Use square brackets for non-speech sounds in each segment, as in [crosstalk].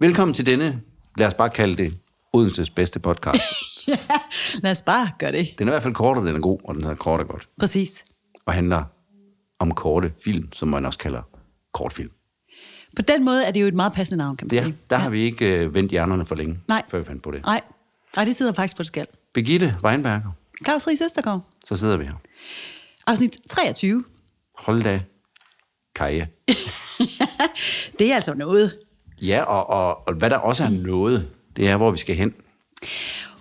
Velkommen til denne, lad os bare kalde det, Odenses bedste [laughs] podcast. ja, lad os bare gøre det. Den er i hvert fald kort, og den er god, og den hedder Kort og Godt. Præcis. Og handler om korte film, som man også kalder kortfilm. På den måde er det jo et meget passende navn, kan man Ja, sige. der har vi ikke øh, vendt hjernerne for længe, Nej. før vi fandt på det. Nej, nej, det sidder faktisk på et skal. Begitte Weinberger, Claus Ries Østergaard, så sidder vi her. afsnit 23. Hold da, Kaja. Det er altså noget. Ja, og, og, og hvad der også er noget, det er, hvor vi skal hen.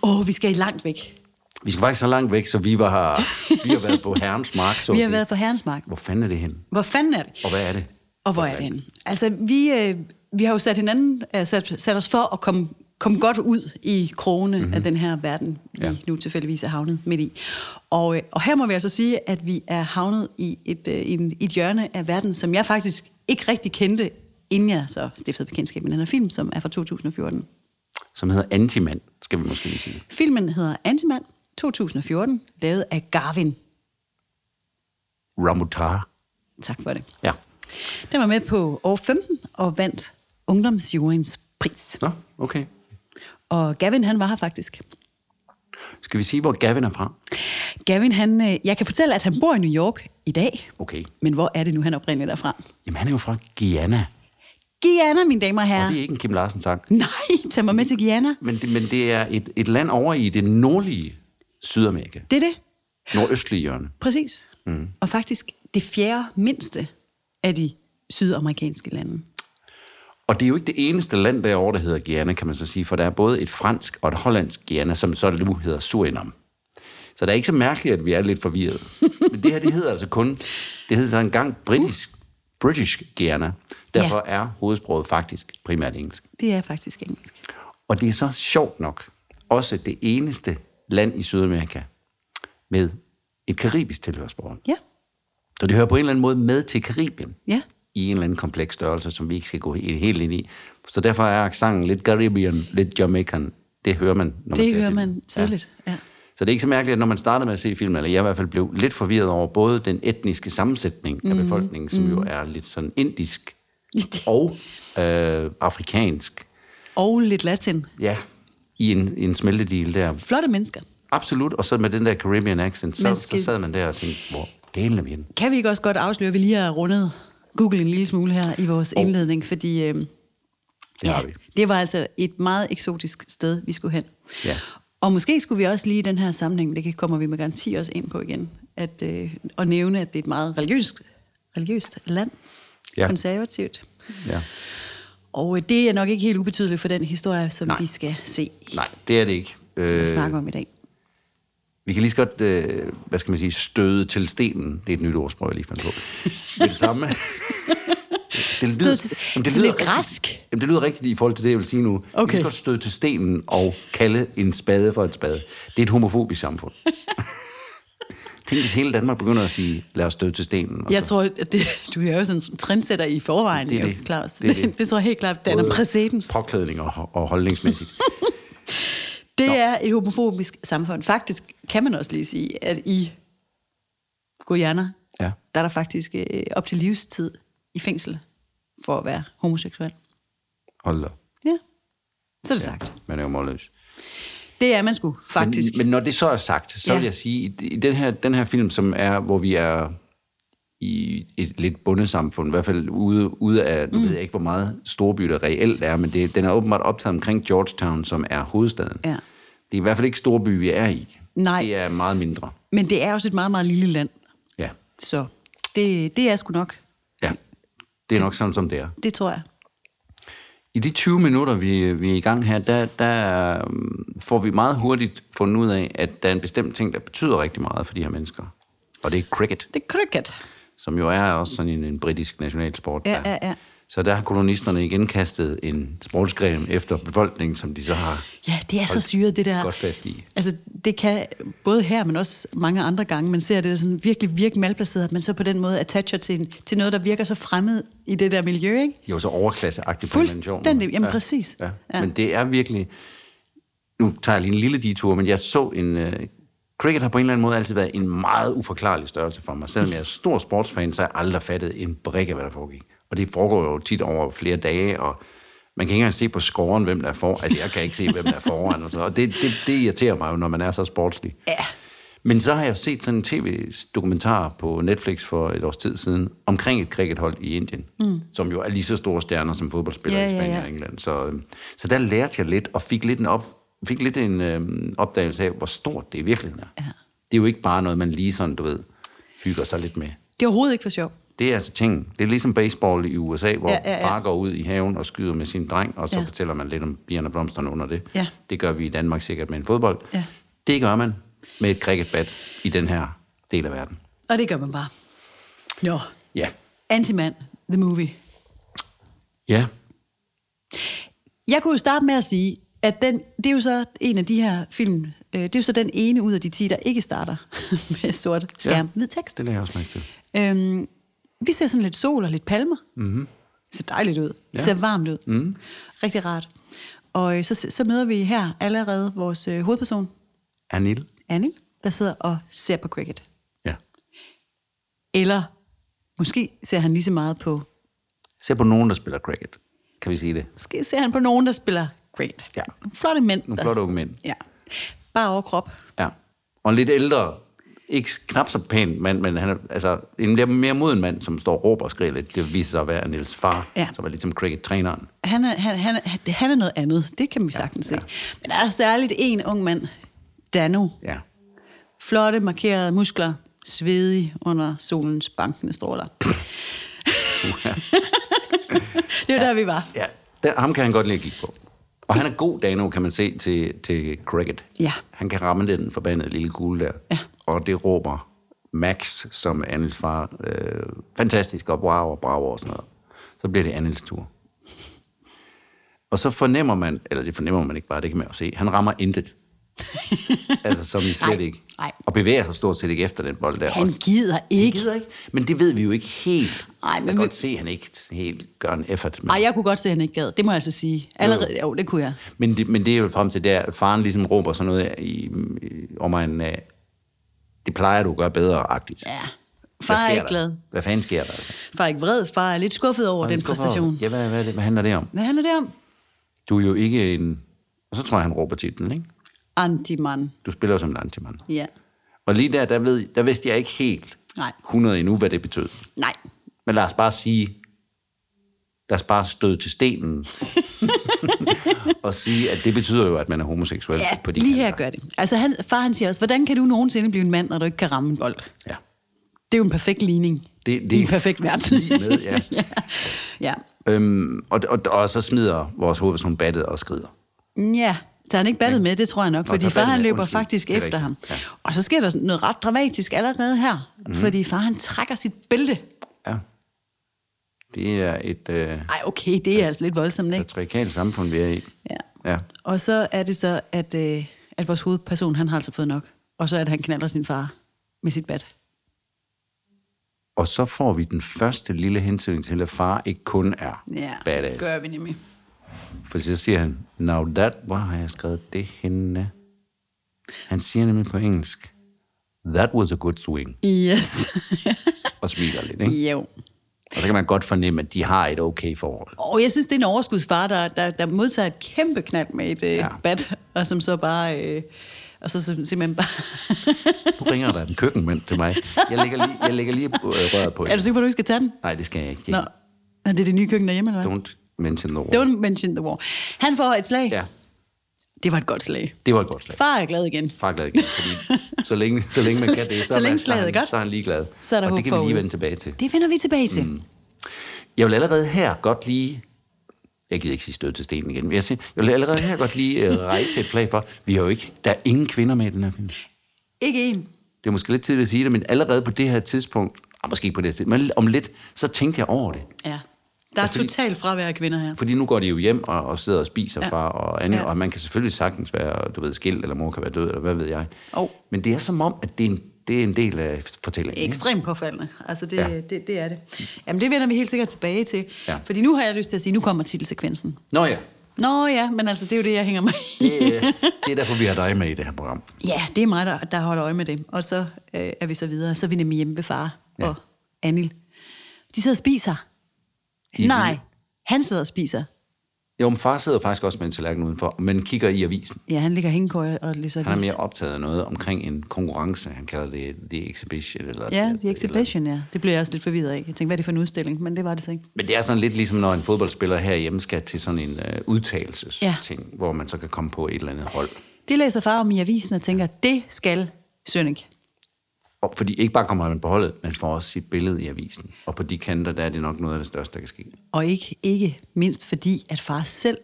Åh, oh, vi skal langt væk. Vi skal faktisk så langt væk, så vi var her, vi har [laughs] været på Herrens Mark, så at Vi har sige. været på Herrensmark. Hvor fanden er det henne? Hvor fanden er det? Og hvad er det? Og hvor er det henne? Altså, vi, øh, vi har jo sat hinanden, øh, sat, sat os for at komme, komme godt ud i krogene mm-hmm. af den her verden, vi Ja. ja. nu tilfældigvis er havnet midt i. Og, øh, og her må vi altså sige, at vi er havnet i et, øh, en, et hjørne af verden, som jeg faktisk ikke rigtig kendte, inden jeg så stiftede bekendtskab med den her film, som er fra 2014. Som hedder Antimand, skal vi måske lige sige. Filmen hedder Antimand 2014, lavet af Garvin. Ramutar. Tak for det. Ja. Den var med på år 15 og vandt Ungdomsjuryens pris. Nå, okay. Og Gavin, han var her faktisk. Skal vi sige, hvor Gavin er fra? Gavin, han, øh, jeg kan fortælle, at han bor i New York i dag. Okay. Men hvor er det nu, han oprindeligt er fra? Jamen, han er jo fra Guyana. Guyana, mine damer og Ja. herrer. Og det er ikke en Kim Larsen sang. Nej, tag mig med til Guyana. Men det, men det er et, et land over i det nordlige Sydamerika. Det er det. Nordøstlige hjørne. Præcis. Mm. Og faktisk det fjerde mindste af de sydamerikanske lande. Og det er jo ikke det eneste land derovre, der hedder Guyana, kan man så sige, for der er både et fransk og et hollandsk Guyana, som så nu hedder Surinam. Så det er ikke så mærkeligt, at vi er lidt forvirrede. [laughs] Men det her, det hedder altså kun, det hedder så engang britisk, British Guyana. Derfor ja. er hovedsproget faktisk primært engelsk. Det er faktisk engelsk. Og det er så sjovt nok også det eneste land i Sydamerika med et karibisk tilhørsforhold. Ja, Så det hører på en eller anden måde med til Karibien ja. i en eller anden kompleks størrelse, som vi ikke skal gå he- helt ind i. Så derfor er accenten lidt Caribbean, lidt Jamaican. Det hører man, når man Det ser hører filmen. man tydeligt. Ja. Så det er ikke så mærkeligt, at når man startede med at se filmen, eller jeg i hvert fald blev lidt forvirret over både den etniske sammensætning Mm, af befolkningen, som jo er lidt sådan indisk og øh, afrikansk. Og lidt latin. Ja, i en, en smeltedeal der. Flotte mennesker. Absolut, og så med den der Caribbean accent, så, Man skal... skal- så sad man der og tænkte, hvor delen er vi henne? Kan vi ikke også godt afsløre, at vi lige har rundet Google en lille smule her i vores indledning, fordi... Øh, Det har vi. Det var altså et meget eksotisk sted, vi skulle hen. Ja. Og måske skulle vi også lige i den her sammenhæng, det kan- kommer vi med garanti også ind på igen, at, øh, at nævne, at det er et meget religiøst, religiøst land, Ja. konservativt. Ja. Og øh, det er nok ikke helt ubetydeligt for den historie, som Nej. vi skal se Nej, det er det ikke. og Øh, snakke om i dag. Vi kan lige så godt, øh, hvad skal man sige, støde til stenen. Det er et nyt ordsprog, jeg lige fandt på. Med det [laughs] samme. det Stød til- så lidt græsk. Jamen, det lyder rigtigt i forhold til det, jeg vil sige nu. Vi Okay. kan godt støde til stenen og kalde en spade for en spade. Det er et homofobisk samfund. [laughs] Tænk, hvis hele Danmark begynder at sige, lad os støde til stenen. Og Jeg så- tror, at det, du er jo sådan en trendsætter i forvejen, Det det er jo, det. Claus. Det er Det, det. [laughs] det. det tror jeg helt klart, den er Både præcedens. Påklædning og, og holdningsmæssigt. Det er et homofobisk samfund. Faktisk kan man også lige sige, at i Guyana, Ja. der er der faktisk øh, op til livstid i fængsel for at være homoseksuel. Hold da. op. Ja, så er det ja. sagt. Man er jo målløs. Det er man sgu, faktisk. Men, men når det så er sagt, så ja. Ja. vil jeg sige, i- i den her, den her film, som er, hvor vi er i et lidt bundesamfund, i hvert fald ude, ude af, nu mm. ved jeg ikke, hvor meget storby der reelt er, men det, den er åbenbart optaget omkring Georgetown, som er hovedstaden. Ja. Det er i hvert fald ikke storby, vi er i. Nej. Det er meget mindre. men det er også et meget, meget lille land. Ja. Så det, det er sgu nok. ja. Det er nok sådan, som det er. Det tror jeg. I de 20 minutter, vi, vi er i gang her, der, der øhm, får vi meget hurtigt fundet ud af, at der er en bestemt ting, der betyder rigtig meget for de her mennesker. Og det er cricket. Det er cricket. som jo er også sådan en, en britisk nationalsport. Ja, der- ja, ja. Så der har kolonisterne igen kastet en sportsgren efter befolkningen, som de så har Ja, det er så syret, det der. godt fast i. Altså, det kan både her, men også mange andre gange, man ser det sådan virkelig, virkelig malplaceret, at man så på den måde attacher til, en- til noget, der virker så fremmed i det der miljø, ikke? Jo, så overklasseagtigt på en eller anden sjov måde. Fuldstændig. Jamen, præcis. Ja. Ja. Ja. Men det er virkelig... Nu tager jeg lige en lille detur, men jeg så en... Øh, cricket har på en eller anden måde altid været en meget uforklarlig størrelse for mig. Selvom jeg er stor sportsfan, så har jeg aldrig fattet en brik af, hvad der foregik. Og det foregår jo tit over flere dage, og Man kan ikke engang se på scoren, hvem der er foran. Altså, jeg kan ikke se, hvem der er foran. Og, sådan. noget. og det, det, det irriterer mig jo, når man er så sportslig. Ja. Men så har jeg set sådan en tv-dokumentar på Netflix for et års tid siden, omkring et crickethold i Indien, mm. som jo er lige så store stjerner som fodboldspillere Ja, i ja, Spanien ja. og England. Så, øhm, så der lærte jeg lidt, og fik lidt en, op, fik lidt en øhm, opdagelse af, hvor stort det i virkeligheden er. Ja. Det er jo ikke bare noget, man lige sådan, du ved, hygger sig lidt med. Det er overhovedet ikke for sjov. Det er altså ting. Det er ligesom baseball i USA, hvor Ja, ja, ja, ja, ja. far går ud i haven og skyder med sin dreng, og så Ja. ja. fortæller man lidt om bierne og blomsterne under det. Ja. Det gør vi i Danmark sikkert med en fodbold. Ja. Det gør man med et cricketbat i den her del af verden. Og det gør man bare. Nå, Ja. Antimand, the movie. Ja. Jeg kunne jo starte med at sige, at den, det er jo så en af de her film, øh, det er jo så den ene ud af de ti, der ikke starter [laughs] med sort skærm, Ja. ja. hvid tekst. Det lader jeg også mærke til. Øhm, vi ser sådan lidt sol og lidt palmer. Mm-hmm. Det ser dejligt ud. Det Mhm. Ja. Mhm. ser varmt ud. Mm. Rigtig rart. Og øh, så, så møder vi her allerede vores øh, hovedperson, Anil? Annie, der sidder og ser på cricket. Ja. Eller måske ser han lige så meget på... Se på nogen, der spiller cricket. Kan vi sige det? Måske ser han på nogen, der spiller cricket. Ja. Nogle flotte mænd. Nogle der- flotte unge mænd. Ja. Bare overkrop. Ja. Og en lidt ældre, ikke knap så pæn mand, men han er, altså, en lidt mere moden mand, som står og råber og skriger lidt. Det viser sig at være Nils far, Ja. som er ligesom cricket-træneren. Han er, han, han, er- han er noget andet. Det kan vi sagtens ja, se. Men der er særligt en ung mand, Dano. Ja. Flotte, markerede muskler. Svedig under solens bankende stråler. [laughs] det var der, vi var. Ja, der, ham kan han godt lide at kigge på. Og han er god, Dano, kan man se, til, til cricket. Ja. Han kan ramme den forbandede lille kugle der. Ja. Og det råber Max, som er Annels far, øh, fantastisk, og wow, og bravo, og sådan noget. Så bliver det Annels tur. Og så fornemmer man, eller det fornemmer man ikke bare, det kan man jo se, han rammer [laughs] intet. altså, som i slet Nej, ikke. nej. Og bevæger sig stort set ikke efter den bold der. Han Og- gider ikke. Han gider ikke. Men det ved vi jo ikke helt. Nej, men jeg kan vi- godt se, at han ikke helt gør en effort. Men... Ej, jeg kunne godt se, at han ikke gad. Det må jeg altså sige. Allerede, jo, det kunne jeg. Men det, men det er jo frem til, det er, at faren ligesom råber sådan noget i, i omegnen af, det plejer du at gøre bedre-agtigt. Ja. Hvad Far er sker ikke der? glad. Hvad fanden sker der? Altså? Far er ikke vred. Far er lidt skuffet over den Hvorfor- præstation. Ja, hvad, hvad, er det, hvad handler det om? Hvad handler det om? Du er jo ikke en... Og så tror jeg, han råber titlen, ikke? Antimand. Du spiller jo som en antimand. Ja. Og lige der, der, ved, der vidste jeg ikke helt Nej. 100 endnu, hvad det betød. Nej. Men lad os bare sige, lad os bare støde til [laughs] stenen og sige, at det betyder jo, at man er homoseksuel. Ja, på de lige her kanter. gør det. Altså han, far han siger også, hvordan kan du nogensinde blive en mand, når du ikke kan ramme en bold? Ja. Det er jo en perfekt ligning. Det- det- I en perfekt verden. Lige med, ja. [laughs] ja. ja. Øhm, og, og, og så smider vores hovedperson battet og skrider. Ja, så han ikke battet med, det tror jeg nok, Nå, fordi tager far battet han med. løber Undskyld. faktisk Det er efter rigtigt. ham. Ja. Mhm. Og så sker der sådan noget ret dramatisk allerede her, fordi far han trækker sit bælte. Ja. Det er et øh, Ej, okay, det er altså lidt voldsomt, ikke? patriarkalt samfund, vi er i. Ja. Ja. Og så er det så, at, øh, at vores hovedperson, han har altså fået nok. Og så er det, at han knalder sin far med sit bat. Og så får vi den første lille hensyn til, at far ikke kun er Ja, badass. det gør vi [laughs] nemlig. For så siger han, now that, hvor har jeg skrevet det henne? Han siger nemlig på engelsk, that was a good swing, Yes. [laughs] og smiler lidt, ikke? jo. Og så kan man godt fornemme, at de har et okay forhold. Og jeg synes, det er en overskudsfar, der, der, der modtager et kæmpe knald med et øh, ja. Ja. bat, og som så bare... Øh, og så sim- simpelthen bare... Nu ringer der en køkkenmand til mig. Jeg lægger lige, jeg lægger lige øh, røret på. er du sikker på, at du ikke skal tage den? Nej, det skal jeg ikke. Nå. Nå, det er det nye køkken derhjemme, eller hvad? Don't mention the word. Don't mention the war. Han får et slag. Ja, Det var et godt slag. det var et godt slag. Far er glad igen. Far er glad igen, fordi så længe, så længe man kan det, så, [laughs] Så er længe man, slaget så, er er godt. han, så er han ligeglad. Så er der og håb det kan vi forude. lige vende tilbage til. Det vender vi tilbage til. Mm. Jeg vil allerede her godt lige... Jeg gider ikke sige stød til stenen igen, men jeg, siger, jeg vil allerede her godt lige øh, rejse et flag for, vi har jo ikke, der er ingen kvinder med i den her film. Ikke en. Det er måske lidt tidligt at sige det, men allerede på det her tidspunkt, ah, måske ikke på det her tidspunkt, men om lidt, så tænkte jeg over det. Ja. Der er Ja, fordi- totalt fravær af kvinder her. Fordi nu går de jo hjem og, og sidder og spiser Ja. ja. far og andet, Ja. ja. og man kan selvfølgelig sagtens være, du ved, skilt, eller mor kan være død, eller hvad ved jeg. Jo. Men det er som om, at det er en, det er en del af fortællingen. ikke? Ekstremt påfaldende. Altså, det, ja. Ja. det, det er det. Jamen, det vender vi helt sikkert tilbage til. Ja. Fordi nu har jeg lyst til at sige, nu kommer titelsekvensen. Nå ja, Nå ja, men altså, det er jo det, jeg hænger mig i. det, [laughs] øh, det er derfor, vi har dig med i det her program. Ja, det er mig, der, der holder øje med det. Og så øh, er vi så videre. Så er vi nemlig hjemme ved far ja. Ja. og Anil. De sidder og spiser. I- Nej, han sidder og spiser. Jo, men far sidder faktisk også med en tallerken udenfor, men kigger i avisen. Ja, han ligger hængekøje og læser Han er avis. mere optaget af noget omkring en konkurrence. Han kalder det The Exhibition. Eller Ja, et The eller andet. Exhibition, ja. Det blev jeg også lidt forvirret af. Jeg tænkte, hvad er det for en udstilling? Men det var det så ikke. Men det er sådan lidt ligesom, når en fodboldspiller herhjemme skal til sådan en øh, Ja. udtalelsesting, ja. hvor man så kan komme på et eller andet hold. Det læser far om i avisen og tænker, det skal Sønnik. Og fordi ikke bare kommer man på holdet, men får også sit billede i avisen. Og på de kanter, der er det nok noget af det største, der kan ske. Og ikke, ikke mindst fordi, at far selv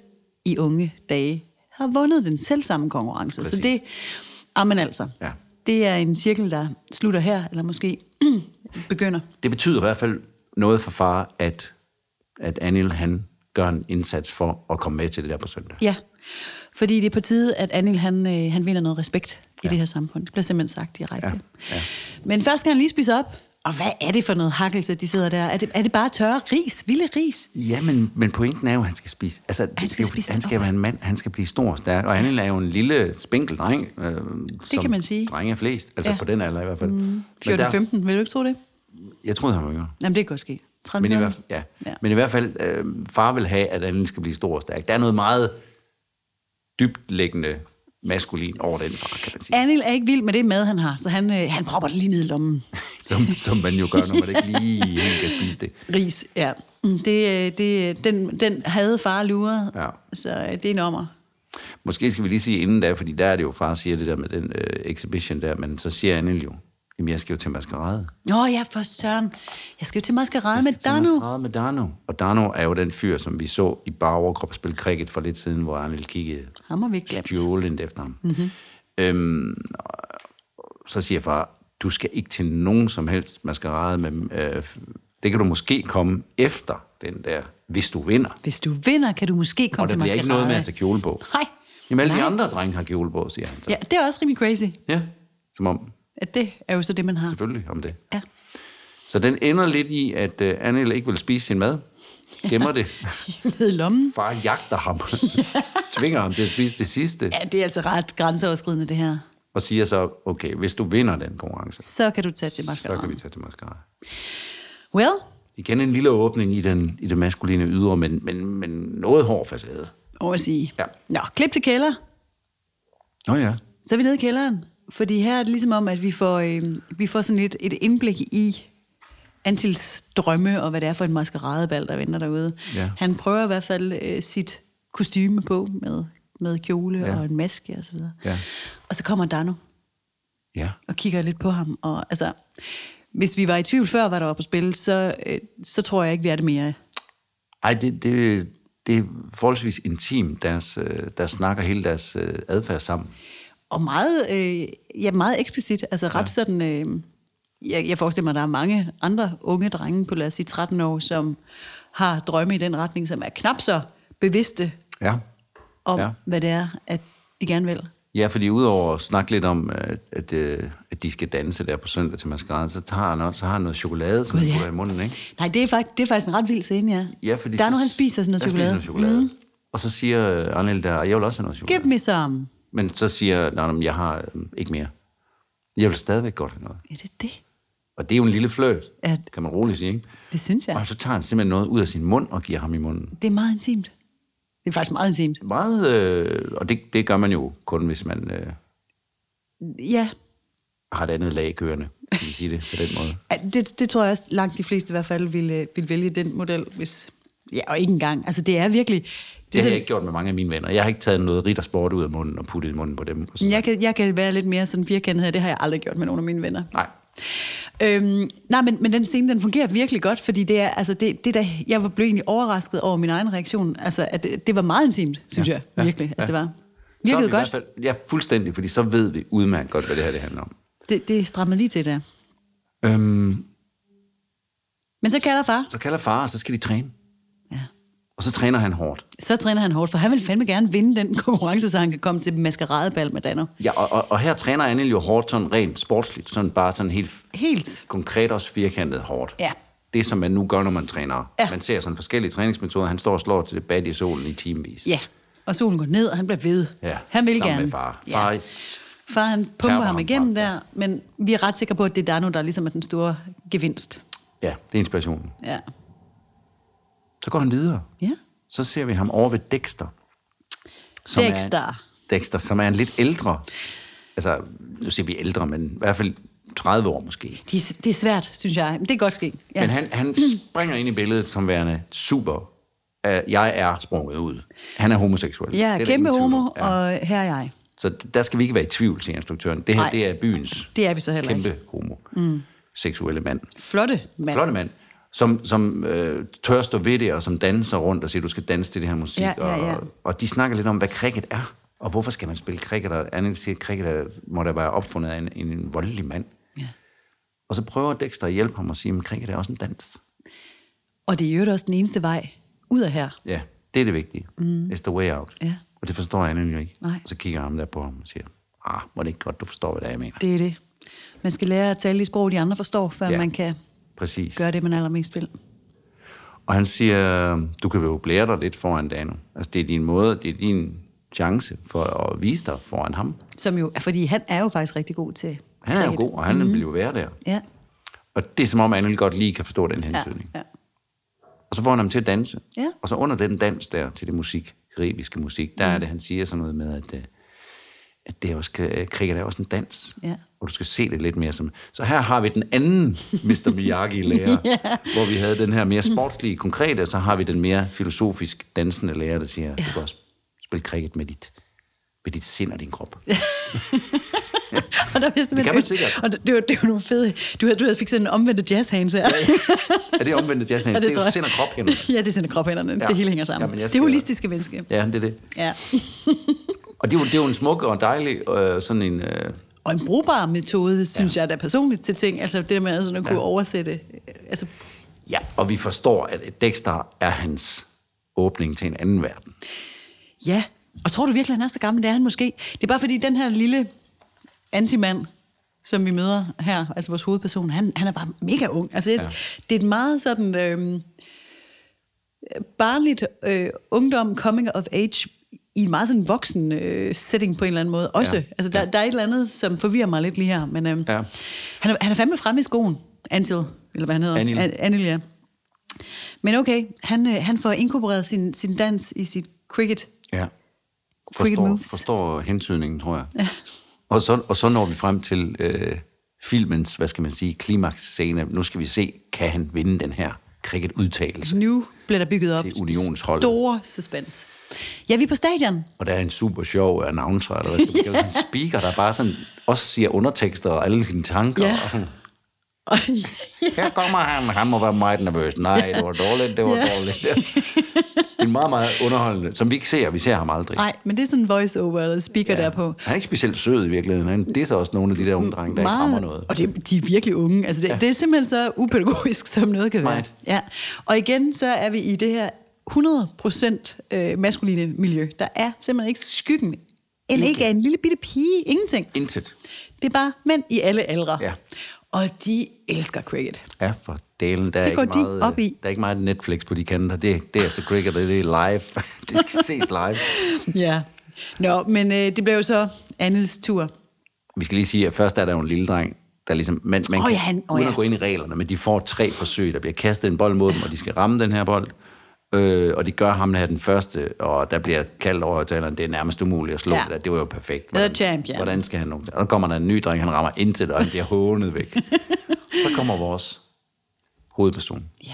i unge dage har vundet den selv samme konkurrence. Præcis. Præcis. Så det, amen altså, Ja. det er en cirkel, der slutter her, eller måske [clears throat] begynder. Det betyder i hvert fald noget for far, at, at Anil han gør en indsats for at komme med til det der på søndag. Ja, fordi det er på tide, at Anil han, øh, han vinder noget respekt ja. i det her samfund. Det bliver simpelthen sagt direkte. Ja. Ja. Men først skal han lige spise op. Og hvad er det for noget hakkelse, de sidder der? Er det, er det bare tørre ris? Vilde ris? Ja, men, men pointen er jo, at han skal spise. Altså, han skal skal, jo, spise han den skal op. være en mand, han skal blive stor og stærk. Og Anil er jo en lille, spinkel dreng. Øh, det som kan man sige. Drenge er flest, altså Ja. ja. på den alder i hvert fald. Mm. 14-15, vil du ikke tro det? Jeg troede, han var yngre. Jamen, det kan godt ske. 30 Men i, hvert, ja. Ja. Ja. Men i hvert fald, øh, far vil have, at Anil skal blive stor og stærk. Der er noget meget dybtlæggende maskulin over den far, kan man sige. Anil er ikke vild med det mad, han har, så han, øh, han propper det lige ned i lommen. Som, som man jo gør, når man ikke lige helt kan spise det. Ris, ja. Mm, Det, øh, det, den, den havde far luret, Ja. så øh, det er en ommer. Måske skal vi lige sige inden da, fordi der er det jo, far siger det der med den øh, exhibition der, men så siger Anil jo, jamen jeg skal jo til maskerade. Nå ja, for søren. Jeg skal jo til maskerade med Jeg skal til Danu. maskerade med Dano. Og Dano er jo den fyr, som vi så i bare overkrop spille cricket for lidt siden, hvor Anil kiggede Ham har vi ikke glemt. stjålent efter ham. Mhm. Mm-hmm. Øhm, og så siger far, du skal ikke til nogen som helst maskerade, men øh, det kan du måske komme efter den der, hvis du vinder. Hvis du vinder, kan du måske komme Og der til bliver maskerade. ikke noget med at tage kjole på. Nej. Jamen alle de Nej. andre drenge har kjole på, siger han så. Ja, det er også rimelig crazy, ja. Som om, at det er jo så det, man har. selvfølgelig om det. Ja. [laughs] Så den ender lidt i, at øh, Anil ikke vil spise sin mad. Gemmer [laughs] det. Ned i lommen. Far jagter [laughs] ham. [laughs] Tvinger ham til at spise det sidste. Ja, det er altså ret grænseoverskridende, det her. Og siger så, okay, hvis du vinder den konkurrence, Så kan du tage til så kan maskerade. vi tage til mascara. Well, Igen en lille åbning i, den, i det maskuline ydre, men, men, men noget hård facade. over at sige. Ja. Nå, klip til kælder. Nå ja. Så er vi nede i kælderen, fordi her er det ligesom om, at vi får, øh, vi får sådan lidt et indblik i Antils drømme og hvad det er for en maskeradebal, der venter derude. Ja. Han prøver i hvert fald øh, sit kostyme på med, med kjole ja. Ja. og en maske og så videre. Ja. Og så kommer Dano Ja. og kigger lidt på ham. Og, altså, hvis vi var i tvivl før, hvad der var på spil, så, øh, så tror jeg ikke, vi er det mere. Ej, det, det, det er forholdsvis intimt, deres, øh, der snakker hele deres øh, adfærd sammen. Og meget, øh, ja, meget eksplicit, altså ret ja. sådan... Øh, jeg, jeg forestiller mig, at der er mange andre unge drenge på, lad os sige, 13 år, som har drømme i den retning, som er knap så bevidste Ja. om, ja. Ja. hvad det er, at de gerne vil. Ja, fordi udover at snakke lidt om, øh, at, øh, at de skal danse der på søndag til maskerade, så tager han også så har han noget chokolade, som Gud, han ja. putter i munden, ikke? Nej, det er, faktisk, det er faktisk en ret vild scene, ja. Ja, fordi der er nu, så- han spiser sådan noget han chokolade. Mhm. Mm. Spiser noget chokolade. Mm. Og så siger øh, Arnel der, jeg vil også have noget chokolade. Give me some. Men så siger nej, nej, jeg har øh, ikke mere. Jeg vil stadigvæk godt have noget. Ja, det er det. Og det er jo en lille fløjt, Ja. kan man roligt sige. Ikke? Det synes jeg. Og så tager han simpelthen noget ud af sin mund og giver ham i munden. Det er meget intimt. Det er faktisk meget intimt. Meget, øh, og det, det gør man jo kun, hvis man øh, Ja, har et andet lag kørende, kan vi sige det på den måde. Ja, [laughs] Det, det tror jeg også langt de fleste i hvert fald ville, øh, ville vælge den model, hvis... Ja, og ikke engang. Altså, det er virkelig... Det Det er har jeg sådan, ikke gjort med mange af mine venner. Jeg har ikke taget noget riddersport ud af munden og puttet i munden på dem. Og sådan. jeg, kan, jeg kan være lidt mere sådan firkantet her. Det har jeg aldrig gjort med nogen af mine venner. Nej. Øhm, nej, men, men den scene, den fungerer virkelig godt, fordi det er, altså, det, det der, jeg var blev egentlig overrasket over min egen reaktion. Altså, at det, det var meget intimt, synes ja, jeg, virkelig, ja, at det var. Så er vi Virkede i godt. hvert Fald, ja, fuldstændig, fordi så ved vi udmærket godt, hvad det her det handler om. Det, det strammede lige til der. Øhm, Men så kalder far. så kalder far, og så skal de træne. Ja. Og så træner han hårdt. Så træner han hårdt, for han vil fandme gerne vinde den [laughs] konkurrence, så han kan komme til maskeradebal med Danner. Ja, og, og, og her træner Anne jo hårdt sådan rent sportsligt, sådan bare sådan helt f- Helt. konkret også firkantet hårdt. Ja. Det, som man nu gør, når man træner. Ja. Man ser sådan forskellige træningsmetoder. Han står og slår til det bad i solen i timevis. Ja, og solen går ned, og han bliver ved. Ja, Han vil sammen gerne. med far. Far- ja. far han pumper Terper ham ham igennem frem, der, men vi er ret sikre på, at det er Dano, der ligesom er den store gevinst. ja det er inspirationen. Ja. Så går han videre. ja. så ser vi ham over ved Dexter. Som Er, Dexter. Dexter, som er en lidt ældre, altså nu siger vi ældre, men i hvert fald 30 år måske. De, det er svært, synes jeg. Men det kan godt ske. Ja. Ja. Men Mm. han, han springer ind i billedet som værende super. Uh, jeg er sprunget ud. Han er homoseksuel. Det er ja, der kæmpe ingen tvivl om. homo, ja. og her er jeg. Så der skal vi ikke være i tvivl, siger instruktøren. Det her, Nej. det er byens Det er vi så heller ikke. kæmpe homo. Mm. Seksuelle mand. Flotte mand. Flotte mand. Som, som øh, tør stå ved det, og som danser rundt og siger, du skal danse til det her musik. Ja, ja, ja. Og, og de snakker lidt om, hvad cricket er. Og hvorfor skal man spille cricket? Og Anne siger, at cricket er, må da være opfundet af en, en voldelig mand. Ja. Og så prøver Dexter at hjælpe ham og sige, at cricket er også en dans. Og det er i øvrigt også den eneste vej ud af her. Ja, det er det vigtige. Mm. It's the way out. Ja. Og det forstår Anne jo ikke. Nej. Og så kigger ham der på ham og siger, ah, må det ikke godt, du forstår, hvad det er, jeg mener. Det er det. Man skal lære at tale de sprog, de andre forstår, før Ja. ja. man kan Præcis. gøre det, man allermest vil. Og han siger, du kan jo blære dig lidt foran Dano. Altså, det er din måde, det er din chance for at vise dig foran ham. Som jo, fordi han er jo faktisk rigtig god til Han er jo cricket. god, og han mm. vil jo være der. Ja, Og det er som om, Anne godt lige kan forstå den ja, hentydning. Ja. ja. Og så får han ham til at danse. Ja. Og så under den dans der, til det musik, karibiske musik, der er det, han siger sådan noget med, at, øh, at det er også, øh, cricket er også en dans. Ja. Og du skal se det lidt mere som... Så her har vi den anden [laughs] Mr. [laughs] Miyagi-lærer, ja. hvor vi havde den her mere sportslige, konkrete, og så har vi den mere filosofisk dansende lærer, der siger, ja. du kan også spille cricket med dit, med dit sind og din krop. Ja. Og der bliver simpelthen Det kan man øl. sikkert. Og det, det, var, det var nogle fede... Du, havde, du havde fik sådan en omvendte jazzhands her. Ja, [laughs] Er det omvendt jazz? Ja, det, det er tror jo jeg. sind og krop hænderne. [laughs] Ja, det er sind og krophænderne. Ja. Ja. Det hele hænger sammen. Jamen, jeg det skal- holistiske menneske. Ja, det er det. Ja. Og det er jo, det er jo en smuk og dejlig øh, sådan en... Øh, Og en brugbar metode, synes ja. jeg da personligt til ting. Altså det der med sådan at kunne ja. oversætte. øh, Altså, Ja, og vi forstår, at Dexter er hans åbning til en anden verden. ja. Og tror du virkelig, han er så gammel? Det er han måske. Det er bare fordi, den her lille antimand, som vi møder her, altså vores hovedperson, han, han er bare mega ung. Altså, jeg, ja. det er et meget sådan... Øh, barnligt øh, ungdom, coming of age, i en meget sådan voksen øh, setting på en eller anden måde også. Ja, Ja, altså, der, ja. der er et eller andet, som forvirrer mig lidt lige her, men øh, Ja. ja. han, er, han er fandme fremme i skoen, Antil, eller hvad han hedder. Anil. A- Anil, ja. Men okay, han, øh, han får inkorporeret sin, sin dans i sit cricket. Ja. Quick Forstår, moves. forstår hensynningen, tror jeg. Ja. Og, så, og så når vi frem til øh, filmens, hvad skal man sige, klimaksscene. Nu skal vi se, kan han vinde den her cricket-udtalelse? Nu bliver der bygget op Til unionsholdet. store suspense. Ja, vi er på stadion. Og der er en super sjov announcer, eller hvad skal man kalde sådan [laughs] en speaker, der bare sådan også siger undertekster og alle sine tanker. Ja. Og sådan, Og, her kommer han, han må være meget nervøs. Nej, det var dårligt, det var Ja. dårligt. [laughs] Det er meget, meget underholdende, som vi ikke ser. Vi ser ham aldrig. [laughs] nej, men det er sådan en voice-over eller speaker ja. derpå. Han er ikke specielt sød i virkeligheden. Han disser også nogle af de der unge drenge, der ikke rammer noget. Og det, de er virkelig unge. Altså det, ja. det er simpelthen så upædagogisk, som noget kan være. Meget. Ja. Og igen, så er vi i det her 100% øh, maskuline miljø. Der er simpelthen ikke skyggen. End ikke af en lille bitte pige. Ingenting. Intet. Det er bare mænd i alle aldre. Ja. Og de elsker cricket. Ja, for delen. Der er Det går ikke de meget, op i. Der er ikke meget Netflix på de kanter. Det, det er til cricket, og det er live. [laughs] det skal ses live. Ja. Nå, men øh, det blev jo så Andes tur. Vi skal lige sige, at først er der jo en lille dreng, der ligesom, man, man Åh, kan, ja, han- åh, uden at ja. gå ind i reglerne, men de får tre forsøg, der bliver kastet en bold mod dem, og de skal ramme den her bold. Øh, og de gør ham her den første, og der bliver kaldt over højtaleren, det er nærmest umuligt at slå Ja. ja. det der. Det var jo perfekt. champion. hvordan skal han nogen? Og der kommer der en ny dreng, han rammer intet, og han bliver hånet [laughs] væk. Så kommer vores hovedperson. Ja.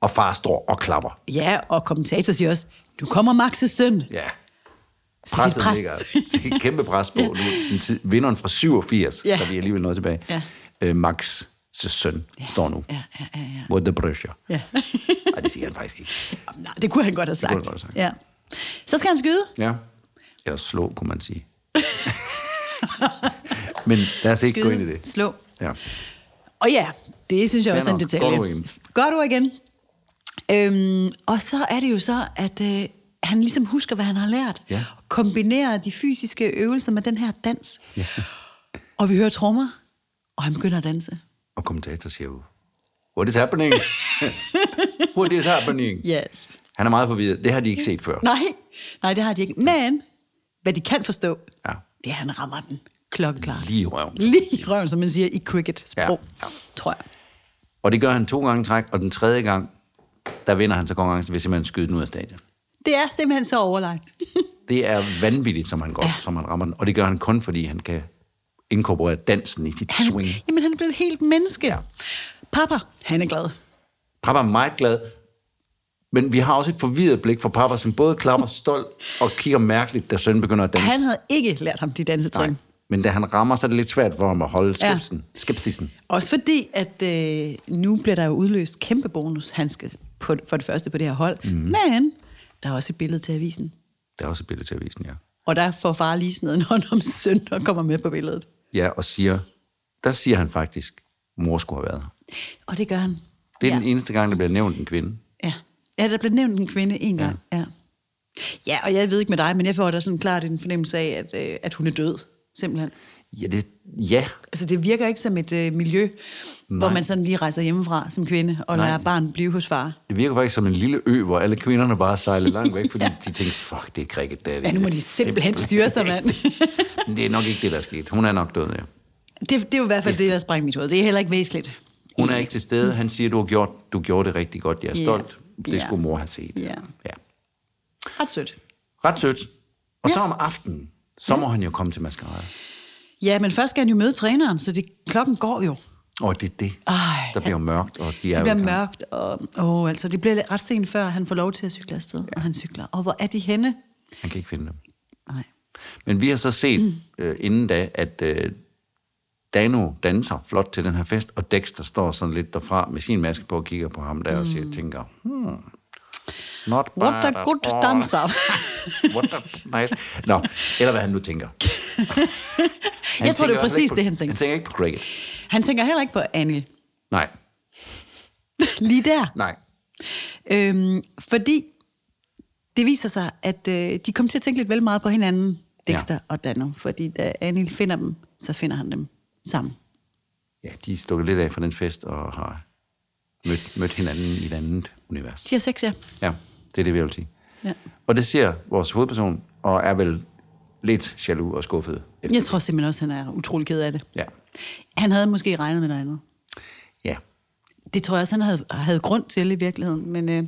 Og far står og klapper. Ja, og kommentator siger også, nu kommer Max' søn. Ja. Så det er Presset pres. ligger. Det er et kæmpe pres [laughs] på. Nu, er den tid, vinderen fra 87, Ja. så vi er alligevel noget tilbage. Ja. Øh, Max' søn står nu. Ja, ja, ja, ja. With the pressure. [laughs] ja. Nej, det siger han faktisk ikke. Nej, det kunne han godt have sagt. kunne han godt have sagt. Ja. Så skal han skyde. Ja. Eller slå, kunne man [laughs] sige. Men lad os ikke Skyde, gå ind i det. Slå. Ja. Og ja, det synes jeg Fair også er en nok. detalje. Godt ord igen. Godt ord igen. Øhm, og så er det jo så, at øh, han ligesom husker, hvad han har lært. Ja. Og kombinerer de fysiske øvelser med den her dans. Ja. Og vi hører trommer, og han begynder at danse. Og kommentator siger jo, what is [laughs] happening? what is happening? Yes. Han er meget forvirret. Det har de ikke set før. Nej, nej, det har de ikke. Men, hvad de kan forstå, Ja. det er, at han rammer den klokkeklart. Lige i røven. Lige i røven, som man siger i cricket-sprog, Ja, tror jeg. Og det gør han to gange i træk, og den tredje gang, der vinder han så konkurrencen ved simpelthen at skyde den ud af stadion. Det er simpelthen så overlagt. Det er vanvittigt, som han går, ja. som han rammer den. Og det gør han kun, fordi han kan inkorporere dansen i sit han... swing. Jamen, han er blevet et helt menneske. Ja. Papa, han er glad. Papa er meget glad, men vi har også et forvirret blik fra Papa, som både [laughs] klapper stolt og kigger mærkeligt, da sønnen begynder at danse. Han havde ikke lært ham de dansetrin. Nej. Men da han rammer, så er det lidt svært for ham at holde skepsisen. Ja. skepsisen. Også fordi, at øh, nu bliver der jo udløst kæmpe bonus, han skal på, for det første på det her hold. Mhm. Mm. Men der er også et billede til avisen. Der er også et billede til avisen, ja. Og der får far lige sådan noget hånd om søn og kommer med på billedet. Ja, og siger, der siger han faktisk, mor skulle have været her. Og det gør han. Det er ja. ja. den eneste gang, der bliver nævnt en kvinde. Ja. ja, der blev nævnt en kvinde en gang. Ja. ja. Ja, og jeg ved ikke med dig, men jeg får da sådan klart en fornemmelse af, at, øh, at hun er død, simpelthen. Ja, det, ja, Altså, det virker ikke som et øh, miljø, Nej. hvor man sådan lige rejser hjemmefra som kvinde og Nej. lader barn blive hos far. det virker faktisk som en lille ø, hvor alle kvinderne bare sejlede langt væk, fordi de tænkte, fuck, det er cricket, det er det. Ja, nu må de simpelthen styre sig, mand. [laughs] Men Det er nok ikke det, der er sket. Hun er nok død, ja. det, det er jo i hvert fald det, der sprang mit hoved. Det er heller ikke væsentligt. Hun er ikke til stede. Han siger, du har gjort, du gjorde det rigtig godt. Jeg er Ja. stolt. Det Ja. skulle mor have set. Ja. ja. Ret sødt. Ret sødt. Og så om aftenen, så må han jo komme til maskerade. Ja, men først skal han jo møde træneren, så det, klokken går jo. Og det er det. Ej, der bliver jo mørkt, og de er Det bliver jo ikke- mørkt, og åh, altså, det bliver ret sent, før han får lov til at cykle afsted, ja. og han cykler. Og hvor er de henne? Han kan ikke finde dem. Nej. Men vi har så set mm. øh, inden da, at øh, Dano danser flot til den her fest, og Dexter står sådan lidt derfra med sin maske på og kigger på ham der og siger, tænker, hmm, not bad Mm. What at a good all. dancer. [laughs] What a nice. Nå, eller hvad han nu [laughs] tænker. Han Jeg tror, det tænker er altså ikke præcis på, det, han tænker. Han tænker ikke på cricket. [laughs] Han tænker heller ikke på Annie. Nej, Lige der. nej. Øhm, fordi det viser sig, at øh, de kom til at tænke lidt vel meget på hinanden, Ja. Dexter ja. og Dano. Fordi da Anil finder dem, så finder han dem sammen. Ja, de er stukket lidt af fra den fest og har mødt, mødt hinanden i et andet univers. De har sex, ja. Ja, det er det, vi vil sige. ja. Og det ser vores hovedperson, og er vel lidt jaloux og skuffet. Efter. Jeg tror simpelthen også, han er utrolig ked af det. Ja. Han havde måske regnet med noget andet. ja. Det tror jeg også, han havde, havde grund til i virkeligheden, men øh,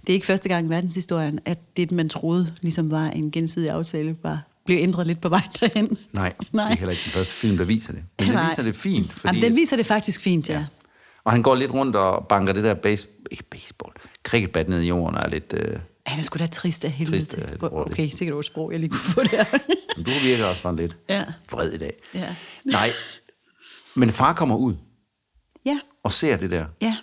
det er ikke første gang i verdenshistorien, at det, man troede ligesom var en gensidig aftale, var, blev ændret lidt på vej derhen. Nej, Nej, det [laughs] Nej. er heller ikke den første film, der viser det. Men den Nej. viser det fint, fordi... Jamen, den viser det faktisk fint, ja. ja. Og han går lidt rundt og banker det der base, ikke baseball, cricketbat ned i jorden og er lidt... Øh, Han er sgu da trist af helvede. Trist af til. helvede. Okay, sikkert over sprog, jeg lige kunne få [laughs] der. men du virker også sådan lidt [laughs] Ja. vred i dag. Ja. Nej, men far kommer ud ja, og ser det der, ja.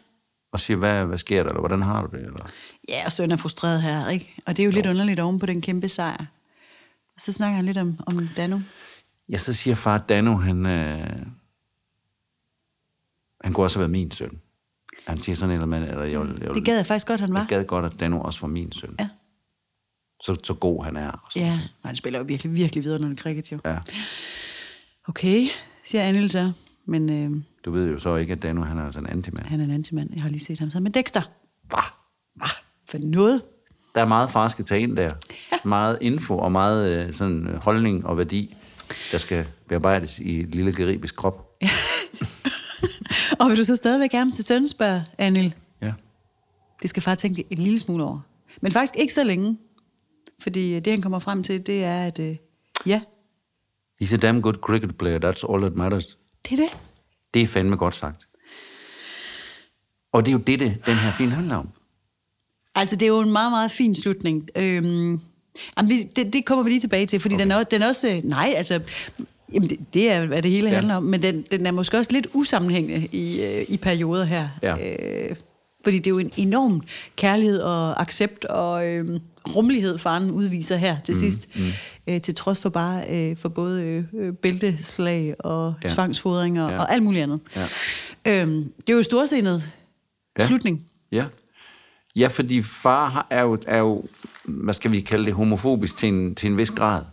og siger, hvad, hvad sker der, eller hvordan har du det? Eller? Ja, og søn er frustreret her, ikke? Og det er jo, jo. lidt underligt oven på den kæmpe sejr. Og så snakker han lidt om, om Danu. Ja, så siger far, Dano, han, øh, han kunne også have været min søn. Han siger sådan et eller andet, eller jeg, vil- jeg, vil- Det gad jeg faktisk godt, han var. jeg gad godt, at Dano også var min søn. Ja. Så, så god han er. Og så. Ja, og han spiller jo virkelig, virkelig videre, når det cricket jo. Ja. Okay, siger Anil så. Men øh, Du ved jo så ikke, at Dano, han er altså en antimand. han er en antimand. Jeg har lige set ham sammen med Dexter. Bah. For noget. Der er meget far skal tage ind der. Meget info og meget øh, sådan øh, holdning og værdi, der skal bearbejdes i et lille geribes krop. Og vil du så stadigvæk gerne til søn, spørger Anil. Ja. Det skal far tænke en lille smule over. Men faktisk ikke så længe. Fordi øh, det, han kommer frem til, det er, at øh, ja, He's a damn good cricket player, that's all that matters. det er det. Det er fandme godt sagt. Og det er jo det, det den her film handler om. Altså, det er jo en meget, meget fin slutning. Øhm, jamen, vi- det, det kommer vi lige tilbage til, fordi okay. den, er, også- den er også... øh, Nej, altså... Jamen, det, det er, hvad det hele Ja. ja. handler om, men den, den er måske også lidt usammenhængende i, øh, i perioder her. Ja. Øh, fordi det er jo en enorm kærlighed og accept og øh, rummelighed, faren udviser her til mm, sidst. Mm. Øh, til trods for bare øh, for både øh, øh, bælteslag og Ja. ja. tvangsfodringer Ja. ja. og alt muligt andet. Ja. Øhm, det er jo storsindet Ja. ja. slutning. Ja. Ja, fordi far har- er jo, er jo, hvad skal vi kalde det, homofobisk til en, til en vis grad.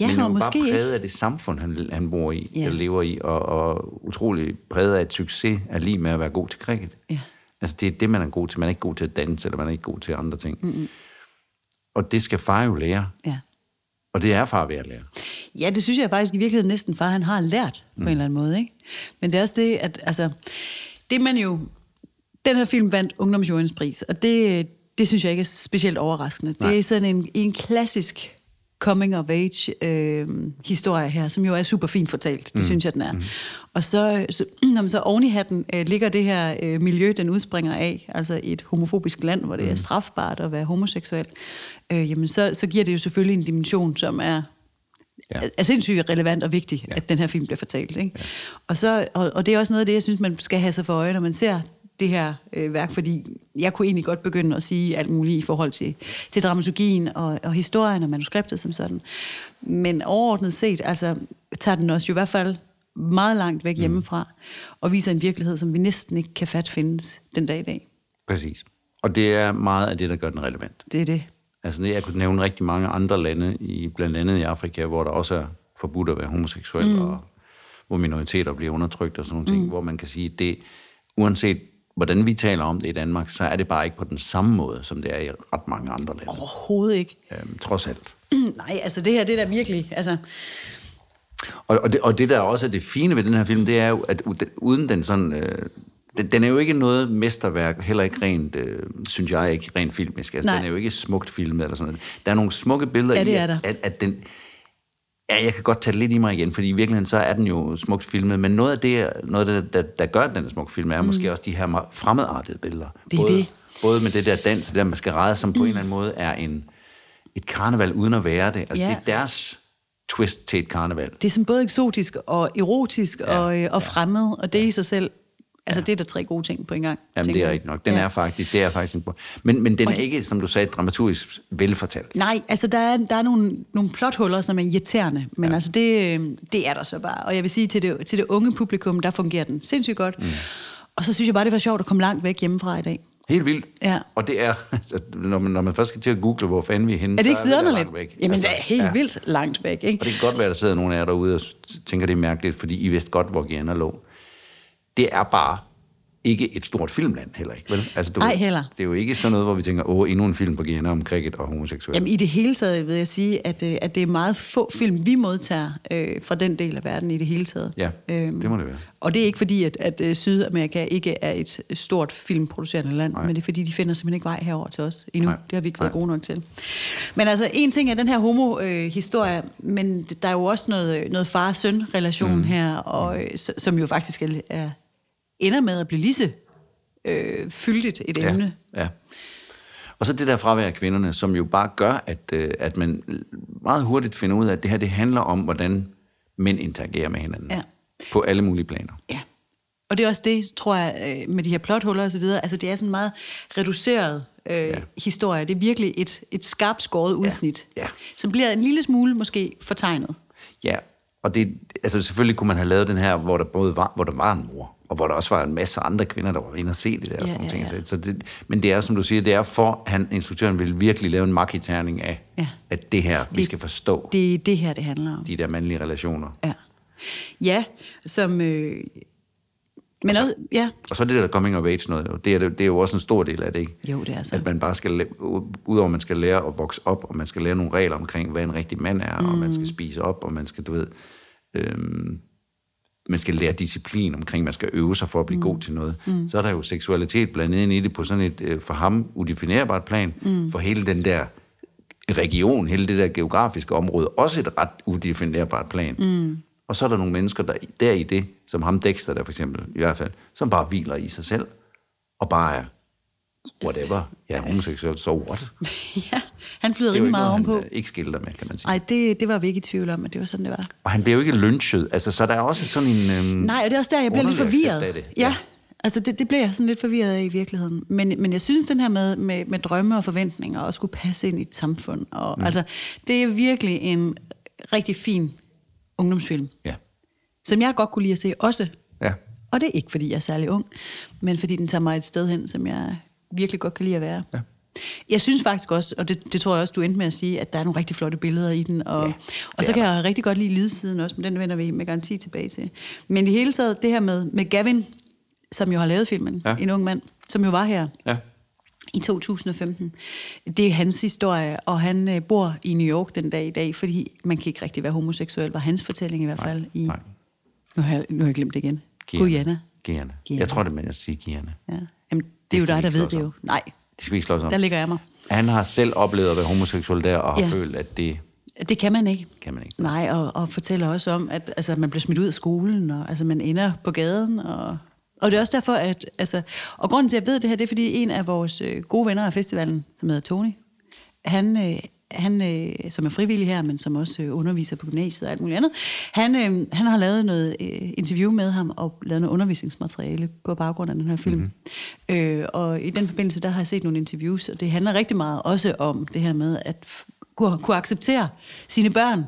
Ja, men og jo måske bare ikke. præget af det samfund, han, han bor i, Ja. ja. lever i, og, og utrolig præget af et succes er lige med at være god til cricket. Ja. Altså, det er det, man er god til. Man er ikke god til at danse, eller man er ikke god til andre ting. Mm-hmm. Og det skal far jo lære. Ja. Og det er far ved at lære. Ja, det synes jeg faktisk i virkeligheden næsten far, han Mm. har lært på en eller anden måde. Ikke? Men det er også det, at altså, det man jo Den her film vandt Ungdomsjuryens pris, og det, det synes jeg ikke er specielt overraskende. Nej. Det er sådan en, en klassisk coming-of-age-historie øh, her, som jo er super fint fortalt. Det mm. synes jeg, den er. Mm. Og så, [clears throat] så, når man så oven i hatten øh, ligger det her øh, miljø, den udspringer af, altså et homofobisk land, hvor det mm. er strafbart at være homoseksuel, øh, jamen så, så giver det jo selvfølgelig en dimension, som er ja. er sindssygt relevant og vigtig, ja. at den her film bliver fortalt. Ikke? Ja. Og, så, og, og det er også noget af det, jeg synes, man skal have sig for øje, når man ser det her øh, værk, fordi jeg kunne egentlig godt begynde at sige alt muligt i forhold til, til dramaturgien og, og historien og manuskriptet som sådan. Men overordnet set, altså, tager den os jo i hvert fald meget langt væk hjemmefra mm. og viser en virkelighed, som vi næsten ikke kan fat findes den dag i dag. Præcis. Og det er meget af det, der gør den relevant. Det er det. Altså, jeg kunne nævne rigtig mange andre lande, i, blandt andet i Afrika, hvor der også er forbudt at være homoseksuel, mm. og hvor minoriteter bliver undertrykt og sådan nogle ting, mm. hvor man kan sige, det uanset hvordan vi taler om det i Danmark, så er det bare ikke på den samme måde, som det er i ret mange andre lande. Overhovedet ikke. Øhm, trods alt. Nej, altså det her, det er da virkelig, altså... Og, og, det, og det, der også er det fine ved den her film, det er jo, at uden den sådan... Øh, den, den er jo ikke noget mesterværk, heller ikke rent, øh, synes jeg, ikke rent filmisk. Altså, Nej. den er jo ikke smukt filmet eller sådan noget. Der er nogle smukke billeder Ja, det i, er at, der. At, at den... Ja, jeg kan godt tage det lidt i mig igen, fordi i virkeligheden så er den jo smukt filmet, men noget af det, noget af det der, der gør, at den er smukt filmet, er mm. måske også de her meget fremmedartede billeder. Det er både, det. Mm. både med det der dans, det der maskerade, som på en eller anden måde er en, et karneval uden at være det. Altså, Ja. det er deres twist til et karneval. Det er sådan både eksotisk og erotisk ja, og, øh, og fremmed, og det ja. i sig selv, altså ja. det er da tre gode ting på en gang. Jamen, tænker det er jeg. rigtigt nok. Den ja. er faktisk, det er faktisk en... Men, men den er det- ikke, som du sagde, dramaturgisk velfortalt. Nej, altså der er, der er nogle, nogle plothuller, som er irriterende, men ja. altså det, øh, det er der så bare. Og jeg vil sige, til det, til det unge publikum, der fungerer den sindssygt godt. Mm. Og så synes jeg bare, det var sjovt at komme langt væk hjemmefra i dag. Helt vildt. Ja. Og det er, [laughs] altså, når, man, når man først skal til at google, hvor fanden vi er henne, Er det ikke så vidunderligt? langt væk. Jamen, altså, det er helt ja. vildt langt væk, ikke? Og det kan godt være, der sidder nogen af jer derude og s- tænker, det er mærkeligt, fordi I vidste godt, hvor Guyana lå. Det er bare ikke et stort filmland heller ikke, vel? Altså, du, Ej, heller. Det er jo ikke sådan noget, hvor vi tænker, åh, endnu en film på Guyana om cricket og homoseksuelle. Jamen i det hele taget vil jeg sige, at, øh, at det er meget få film, vi modtager øh, fra den del af verden i det hele taget. Øhm, Ja, det må det være. Og det er ikke fordi, at, at øh, Sydamerika ikke er et stort filmproducerende land, Nej. men det er fordi, de finder simpelthen ikke vej herover til os endnu. Nej. Det har vi ikke været Nej. gode nok til. Men altså, en ting er den her homo-historie, øh, historie, men der er jo også noget, øh, noget far-søn-relation mm. her, og, øh, s- som jo faktisk er, er, ender med at blive lige så øh, fyldigt et emne. Ja. Ja, ja. Og så det der fravær af kvinderne, som jo bare gør, at, øh, at man meget hurtigt finder ud af, at det her det handler om, hvordan mænd interagerer med hinanden. Ja. På alle mulige planer. Ja. Og det er også det, tror jeg, øh, med de her plothuller og så videre. Altså, det er sådan en meget reduceret øh, ja. historie. Det er virkelig et, et skarpt skåret udsnit, Ja. som bliver en lille smule måske fortegnet. Ja, og det, altså selvfølgelig kunne man have lavet den her, hvor der både var, hvor der var en mor, og hvor der også var en masse andre kvinder, der var inde og se det der. Ja, og sådan ja, ja, ting. ja. Så- Så det, men det er, som du siger, det er for, han, instruktøren vil virkelig lave en magiterning af, Ja. ja. at det her, vi skal forstå, det, Det er det her, det handler om. de der mandlige relationer. Ja, ja som... Øh, men også, Altså- ja, Og så det der coming of age noget, jo, det er, det er jo også en stor del af det, ikke? Jo, det er så. At man bare skal, la- u- udover at man skal lære at vokse op, og man skal lære nogle regler omkring, hvad en rigtig mand er, mm. og man skal spise op, og man skal, du ved, øhm, man skal lære disciplin omkring, man skal øve sig for at blive mm. god til noget. Mm. Så er der jo seksualitet blandet ind i det på sådan et, øh, for ham, udefinerbart plan, mm. for hele den der region, hele det der geografiske område, også et ret udefinerbart plan. Mm. Og så er der nogle mennesker, der, der i det, som ham Dexter der for eksempel, i hvert fald, som bare hviler i sig selv, og bare er, whatever, jeg er homoseksuel, så what? Det [laughs] ja, han flyder er jo rimelig ikke meget noget, ovenpå. han øh, ikke skilter med, kan man sige. Nej, det, det var vi ikke i tvivl om, at det var sådan, det var. Og han bliver jo ikke lynchet, altså, så der er også sådan en... Øhm, Nej, og det er også der, jeg bliver lidt Underlig accept forvirret. af det, Ja. ja. ja. Altså, det, det bliver jeg sådan lidt forvirret af i virkeligheden. Men, men jeg synes, den her med, med, med drømme og forventninger, og skulle passe ind i et samfund, og, mm. altså, det er virkelig en rigtig fin ungdomsfilm, Ja, som jeg godt kunne lide at se også. ja, Og det er ikke, fordi jeg er særlig ung, men fordi den tager mig et sted hen, som jeg virkelig godt kan lide at være. Ja. Jeg synes faktisk også, og det, det tror jeg også, du endte med at sige, at der er nogle rigtig flotte billeder i den. Og, ja, og så er kan jeg rigtig godt lide lydsiden også, men den vender vi med garanti tilbage til. Men i det hele taget, det her med, med Gavin, som jo har lavet filmen, ja. Ja. en ung mand, som jo var her ja. i 2015. Det er hans historie, og han øh, bor i New York den dag i dag, fordi man kan ikke rigtig være homoseksuel, var hans fortælling i hvert fald. i, nej. Nu, har jeg, nu har jeg glemt det igen. Guyana. Guyana. Guyana. Guyana. Jeg tror, det er, man jeg siger Guyana. Ja. Jamen, Det skal vi er jo dig, der ikke ved slås det jo. om. Nej, Det skal vi ikke slås om. der ligger jeg mig. Han har selv oplevet at være homoseksuel der, og har Ja. følt, at det Det kan man ikke. kan man ikke. Nej, og, og fortæller også om, at altså, at man bliver smidt ud af skolen, og altså, man ender på gaden. Og, og det er også derfor, at... Altså, og grunden til, at jeg ved det her, det er, fordi en af vores øh, gode venner af festivalen, som hedder Tony, han, øh, han øh, som er frivillig her, men som også øh, underviser på gymnasiet og alt muligt andet, han, øh, han har lavet noget øh, interview med ham og lavet noget undervisningsmateriale på baggrund af den her film. Mm-hmm. Øh, og i den forbindelse, der har jeg set nogle interviews, og det handler rigtig meget også om det her med at f- kunne, kunne acceptere sine børn,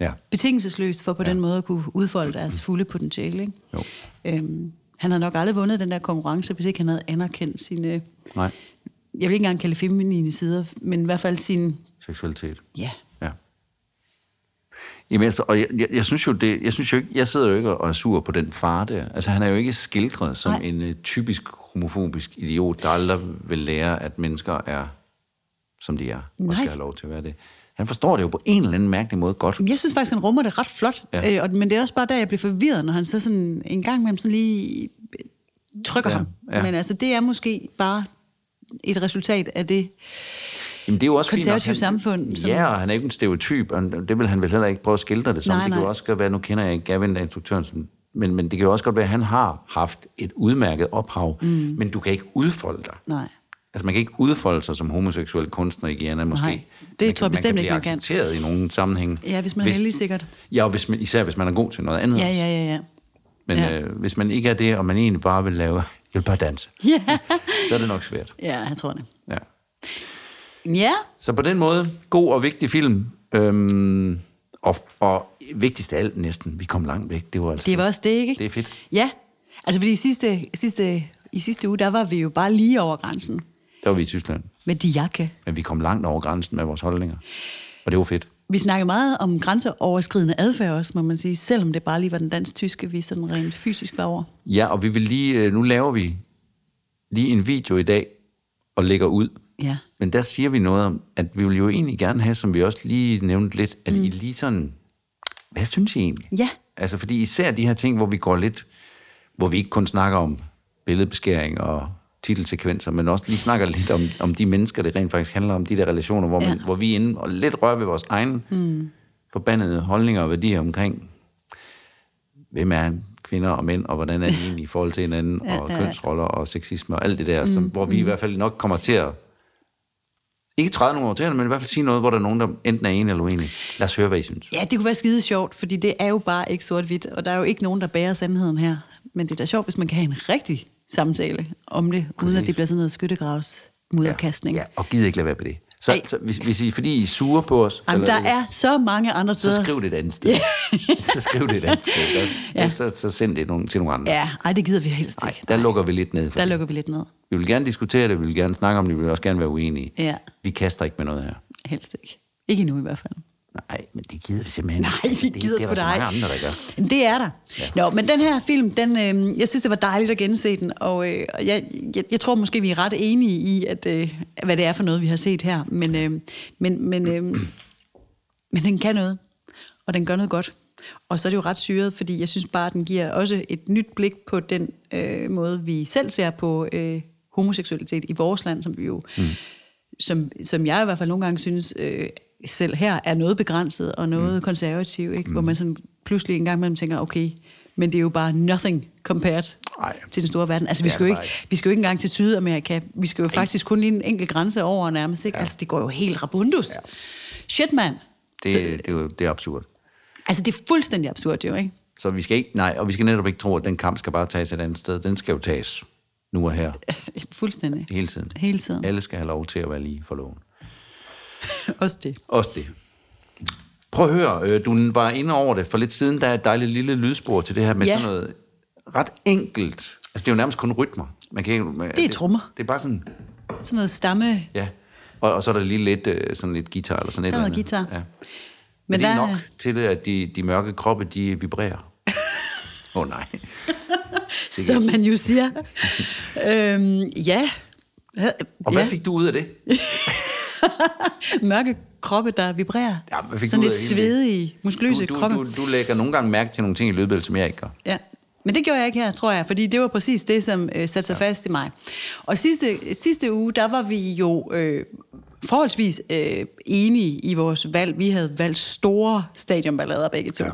Ja. betingelsesløst for på ja. den måde at kunne udfolde deres fulde potentiale. Ikke? Jo. Øhm, han havde nok aldrig vundet den der konkurrence, hvis ikke han havde anerkendt sine, jeg Nej. vil ikke engang kalde det feminine sider, men i hvert fald sin, Seksualitet. ja, Ja. Jamen, altså, og jeg, jeg, jeg synes jo, det, jeg, synes jo ikke, jeg sidder jo ikke og er sur på den far der. Altså, han er jo ikke skildret som Nej. Nej. en uh, typisk homofobisk idiot, der aldrig vil lære, at mennesker er, som de er, og Nej. skal have lov til at være det. Han forstår det jo på en eller anden mærkelig måde godt. Jeg synes faktisk, han rummer det ret flot. Ja. Ja. Øh, og, men det er også bare der, jeg bliver forvirret, når han så sådan en gang imellem sådan lige øh, trykker ja. Ja, ham. Ja. ja. Men altså, det er måske bare et resultat af det. Jamen, det er jo også fint nok, Konservative han- samfund, som- Ja, og han er ikke en stereotyp, og det vil han vel heller ikke prøve at skildre det som. Nej, det kan nej. jo også godt være, nu kender jeg ikke Gavin, der er instruktøren, som, men, men det kan jo også godt være, at han har haft et udmærket ophav, mm. men du kan ikke udfolde dig. Nej. Altså, man kan ikke udfolde sig som homoseksuel kunstner i Guyana, måske. Nej, det man tror jeg bestemt ikke, man kan. Man kan blive accepteret i nogle sammenhæng. Ja, hvis man er heldig sikkert. Ja, og hvis man, især hvis man er god til noget andet. Ja, også. ja, ja, [laughs] ja. Men ja. Øh, hvis man ikke er det, og man egentlig bare vil lave... [laughs] Jeg vil bare danse. Ja, Så er det nok svært. ja jeg tror det. Ja. Ja, Så på den måde, god og vigtig film. Øhm, og, og vigtigst af alt næsten, vi kom langt væk. Det var altså Det var også det, ikke? Det er fedt. Ja. Altså, fordi i sidste, sidste, i sidste uge, der var vi jo bare lige over grænsen Der var vi i Tyskland. med de jakke. Men vi kom langt over grænsen med vores holdninger. Og det var fedt. Vi snakkede meget om grænseoverskridende adfærd også, må man sige, selvom det bare lige var den dansk-tyske, vi sådan rent fysisk var over. Ja, og vi vil lige... øh, Nu laver vi lige en video i dag, og lægger ud. Ja. Men der siger vi noget om, at vi vil jo egentlig gerne have, som vi også lige nævnte lidt, at mm. I lige sådan... Hvad synes I egentlig? Ja. Altså, fordi især de her ting, hvor vi går lidt... Hvor vi ikke kun snakker om billedbeskæring og titelsekvenser, men også lige snakker lidt om, om de mennesker, det rent faktisk handler om, de der relationer, hvor, man, Ja. Hmm. ja. hvor vi er inde og lidt rører ved vores egen mm. forbandede holdninger og værdier omkring, hvem er kvinder og mænd, og hvordan er de egentlig i forhold til hinanden, ja, og ja, Hmm, ja. kønsroller og sexisme og alt det der, som, hvor vi i hvert fald nok kommer til at ikke træde nogen over tæerne, men i hvert fald sige noget, hvor der er nogen, der enten er enige eller uenige. Lad os høre, hvad I synes. Ja, det kunne være skide sjovt, fordi det er jo bare ikke sort-hvidt, og der er jo ikke nogen, der bærer sandheden her. Men det er da sjovt, hvis man kan have en rigtig samtale om det, uden at det bliver sådan noget skyttegravs mudderkastning. Ja, og gider ikke lade være med det. Så, Ej. så hvis, hvis I, fordi I er sure på os, Jamen, der eller- er så mange andre steder. så skriv det et andet sted. [laughs] så skriv det et andet sted. Der, ja. så, så send det nogen, til nogle andre. Ja, ej, det gider vi helst Nej, ikke. der lukker vi lidt ned for Der det. lukker vi lidt ned. Vi vil gerne diskutere det, vi vil gerne snakke om det, vi vil også gerne være uenige. Ja. Vi kaster ikke med noget her. Helst ikke. Ikke endnu i hvert fald. Nej, men det gider vi simpelthen Nej, vi det, gider det, sgu Det er der da så ej. mange andre, der gør. Men Det er der. Ja. Nå, men den her film, den, øh, jeg synes, det var dejligt at gense den, og øh, og jeg, jeg, jeg tror måske, vi er ret enige i, at, øh, hvad det er for noget, vi har set her. Men, øh, men, men, øh, men den kan noget, og den gør noget godt. Og så er det jo ret syret, fordi jeg synes bare, at den giver også et nyt blik på den øh, måde, vi selv ser på øh, homoseksualitet i vores land, som vi jo... Mm som, som jeg i hvert fald nogle gange synes, øh, selv her er noget begrænset og noget mm. konservativ, ikke? hvor man sådan pludselig en gang imellem tænker, okay, men det er jo bare nothing compared Ej. til den store verden. Altså, vi Det er skal, jo det ikke, bare vi skal jo ikke engang til Sydamerika. Vi skal jo faktisk kun lige en enkelt grænse over nærmest. Ikke? Ja. Altså, det går jo helt rabundus. Ja. Shit, mand. Det, det, er jo, det er absurd. Altså, det er fuldstændig absurd jo, ikke? Så vi skal ikke, nej, og vi skal netop ikke tro, at den kamp skal bare tages et andet sted. Den skal jo tages nu og her, Fuldstændig. hele tiden. Hele tiden. Alle skal have lov til at være lige for loven. Også det. Også det. Prøv at høre, øh, du var inde over det for lidt siden, der er et dejligt lille lydspor til det her med Ja. ja. sådan noget ret enkelt. Altså det er jo nærmest kun rytmer. Man kan, ikke- man, Det er trommer. Det, det er bare sådan, Sådan noget stamme. Men, ja. Og, og så er der lige lidt øh, sådan lidt guitar eller sådan et Der er eller noget andet. guitar. Ja. Men, det er nok til, at de, de mørke kroppe, de [laughs] vibrerer. Åh oh, nej. som man jo siger. øhm, ja. Og hvad fik du ud af det? mørke kroppe, der vibrerer. Ja, hvad fik Sådan du ud lidt af hele det? svedige, muskuløse du, kroppe. du, du, du lægger nogle gange mærke til nogle ting i løbet, som jeg ikke gør. Ja. Men det gjorde jeg ikke her, tror jeg, fordi det var præcis det, som øh, satte sig ja. fast i mig. Og sidste, sidste uge, der var vi jo øh, forholdsvis øh, enige i vores valg. Vi havde valgt store stadionballader begge to. Ja.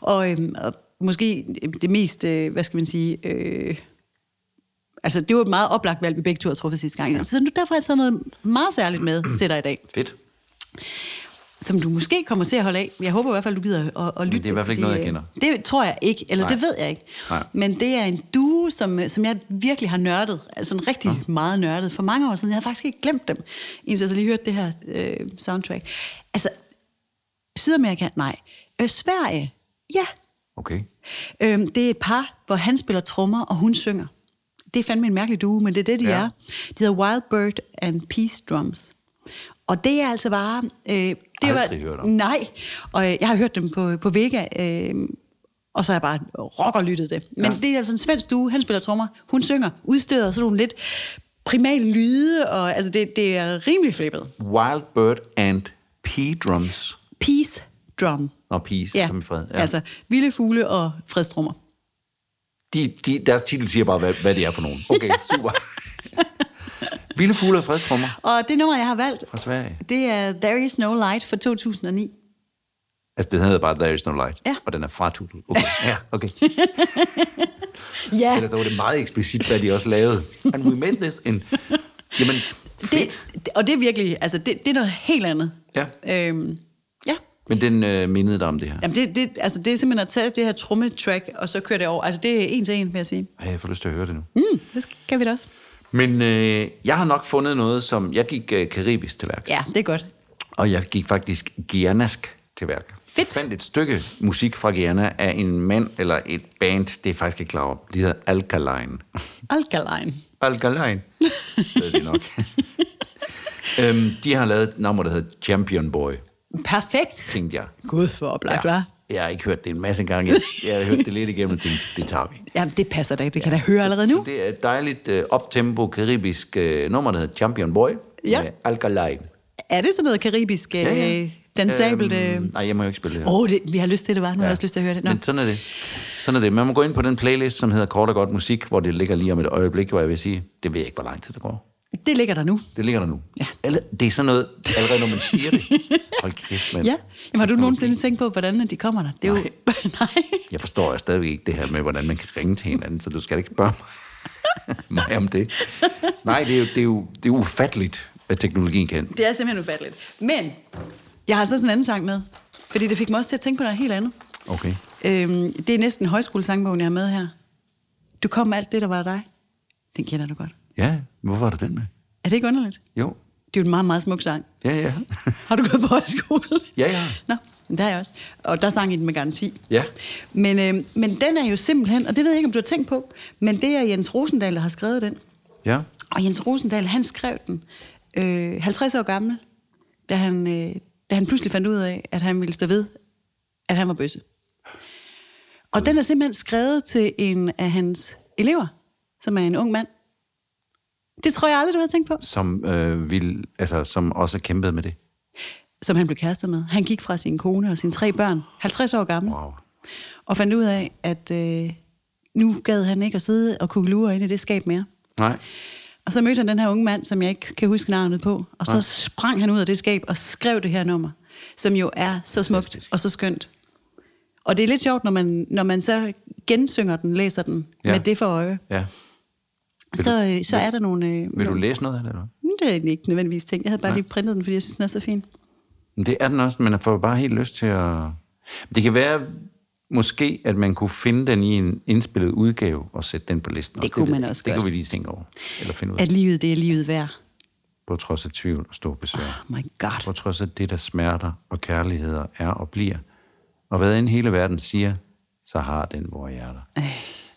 Og, øh, og måske det mest, øh, hvad skal man sige... Øh, Altså, det var et meget oplagt valg, vi begge to havde truffet sidste gang. Ja. Så nu- derfor har jeg taget noget meget særligt med til dig i dag, Fedt. som du måske kommer til at holde af. Jeg håber i hvert fald, du gider at, at lytte. det er i hvert fald ikke fordi, noget, jeg kender. øh, Det tror jeg ikke, eller Nej. Nej. det ved jeg ikke. Nej. Men det er en duo, som, øh, som jeg virkelig har nørdet, altså en rigtig ja. meget nørdet, for mange år siden. Jeg havde faktisk ikke glemt dem, indtil jeg så lige hørte det her øh, soundtrack. Altså, Sydamerika? Nej. Øh, Sverige? Ja, Okay. Øhm, det er et par, hvor han spiller trommer, og hun synger. Det er fandme en mærkelig duo, men det er det, de Ja. ja. er. De hedder Wild Bird and Peace Drums. Og det er altså bare... Øh, det Aldrig hørt om. Nej, og øh, jeg har hørt dem på, på Vega, øh, og så har jeg bare rockerlyttet det. Men Ja. ja. det er altså en svensk duo, han spiller trommer, hun synger, udstøder sådan nogle lidt primale lyde, og altså det, det er rimelig flippet. Wild Bird and Pea Drums. Peace Drum. Nå, peas, Ja, som i fred. Ja. altså vilde fugle og fredstrummer. De, de, deres titel siger bare, hvad, hvad det er for nogen. [laughs] Okay, super. Vilde fugle og fredstrummer Og det nummer, jeg har valgt, fra Sverige. Det er There Is No Light fra 2009. Altså, den hedder bare There Is No Light. Ja. Og den er fra Tutel. [laughs] Okay, ja, okay. Ja, Ellers så var det meget eksplicit, hvad de også lavede. And we made this in... Jamen, fedt. det, det- og det er virkelig, altså det, det er noget helt andet. Ja. Øhm, ja. Men den øh, mindede dig om det her. Jamen det, det, altså det er simpelthen at tage det her trummetrack, og så køre det over. Altså det er en til en, vil jeg sige. Ej, jeg får lyst til at høre det nu. Mm, det skal- kan vi da også. Men øh, jeg har nok fundet noget, som... Jeg gik øh, karibisk til værks. Ja, det er godt. Og jeg gik faktisk Gianask til værk. Fedt. Jeg fandt et stykke musik fra Guyana af en mand eller et band, det er jeg faktisk ikke klar over. De hedder Alkaline. Alkaline. Alkaline? Ved det nok. øhm, de har lavet et nummer, der hedder Champion Boy, [laughs] Perfekt. tænkte jeg. Gud, for oplagt, ja. hva'? Jeg har ikke hørt det en masse gange. Jeg, jeg har hørt det lidt igennem og tænkt, det tager vi. Jamen det passer da ikke, det kan jeg da høre allerede nu. Det er et dejligt øh, optempo karibisk øh, nummer, der hedder Champion Boy Ja. Øh, med Alkaline. Er det sådan noget karibisk, ja, ja. ja. dansabelt? Åh, øhm. Nej, jeg må jo ikke spille det her. oh, vi har lyst til det, var. Nu ja. har jeg også lyst til at høre det. Nå. Men sådan er det. Sådan er det. Man må gå ind på den playlist, som hedder Kort og Godt Musik, hvor det ligger lige om et øjeblik, hvor jeg vil sige, det ved jeg ikke, hvor lang tid det går. Det ligger der nu. Det ligger der nu. Ja. Alle, det er sådan noget, allerede når man siger [laughs] det. Hold kæft, mand. Ja. Jamen, har du nogensinde tænkt på, hvordan de kommer der? Det er jo... [laughs] Nej. Jeg forstår jeg stadigvæk ikke det her med, hvordan man kan ringe til hinanden, så du skal ikke spørge mig, [laughs] mig om det. Nej, det er jo, det er jo, det er ufatteligt, hvad teknologien kan. Det er simpelthen ufatteligt. Men jeg har så sådan en anden sang med, fordi det fik mig også til at tænke på noget helt andet. Okay. Øhm, det er næsten højskolesangbogen, jeg har med her. Du kom med alt det, der var dig. Den kender du godt. Ja, hvorfor er du den med? Er det ikke underligt? Jo. Det er jo en meget, meget [laughs] smuk sang. Ja, ja. Har du gået på højskole? Ja, ja. Nå, men det har jeg også. Og der sang I den med garanti. Ja. Men, øh, men den er jo simpelthen, og det ved jeg ikke, om du har tænkt på, men det er Jens Rosendal, der har skrevet den. Ja. Og Jens Rosendal, han skrev den øh, 50 år gammel, da han, øh, da han pludselig fandt ud af, at han ville stå ved, at han var bøsse. Og den er simpelthen skrevet til en af hans elever, som er en ung mand. Det tror jeg aldrig, du havde tænkt på. Som, øh, vil, altså, som også kæmpede med det. Som han blev kærester med. Han gik fra sin kone og sine tre børn, 50 år gammel, Wow. og fandt ud af, at øh, nu gad han ikke at sidde og kunne lure ind i det skab mere. Nej. Og så mødte han den her unge mand, som jeg ikke kan huske navnet på. Og så sprang han ud af det skab og skrev det her nummer, som jo er så smukt Fantastisk. og så skønt. Og det er lidt sjovt, når man, når man så gensynger den, læser den Ja. ja. med det for øje. Ja. Vil Så, øh, så er der nogle... Øh, Vil du nogle- læse noget af det, eller hvad? Det er egentlig ikke nødvendigvis ting. Jeg havde bare lige printet den, fordi jeg synes, den er så fin. Men Det er den også, men jeg får bare helt lyst til at... Det kan være måske, at man kunne finde den i en indspillet udgave og sætte den på listen. Det kunne ved man jeg også ikke. Det godt. kunne vi lige tænke over. Eller finde ud af. At livet, det er livet værd. På trods af tvivl og stor besvær. Oh my god. På trods af det, der smerter og kærligheder er og bliver. Og hvad end hele verden siger, så har den vores hjerter.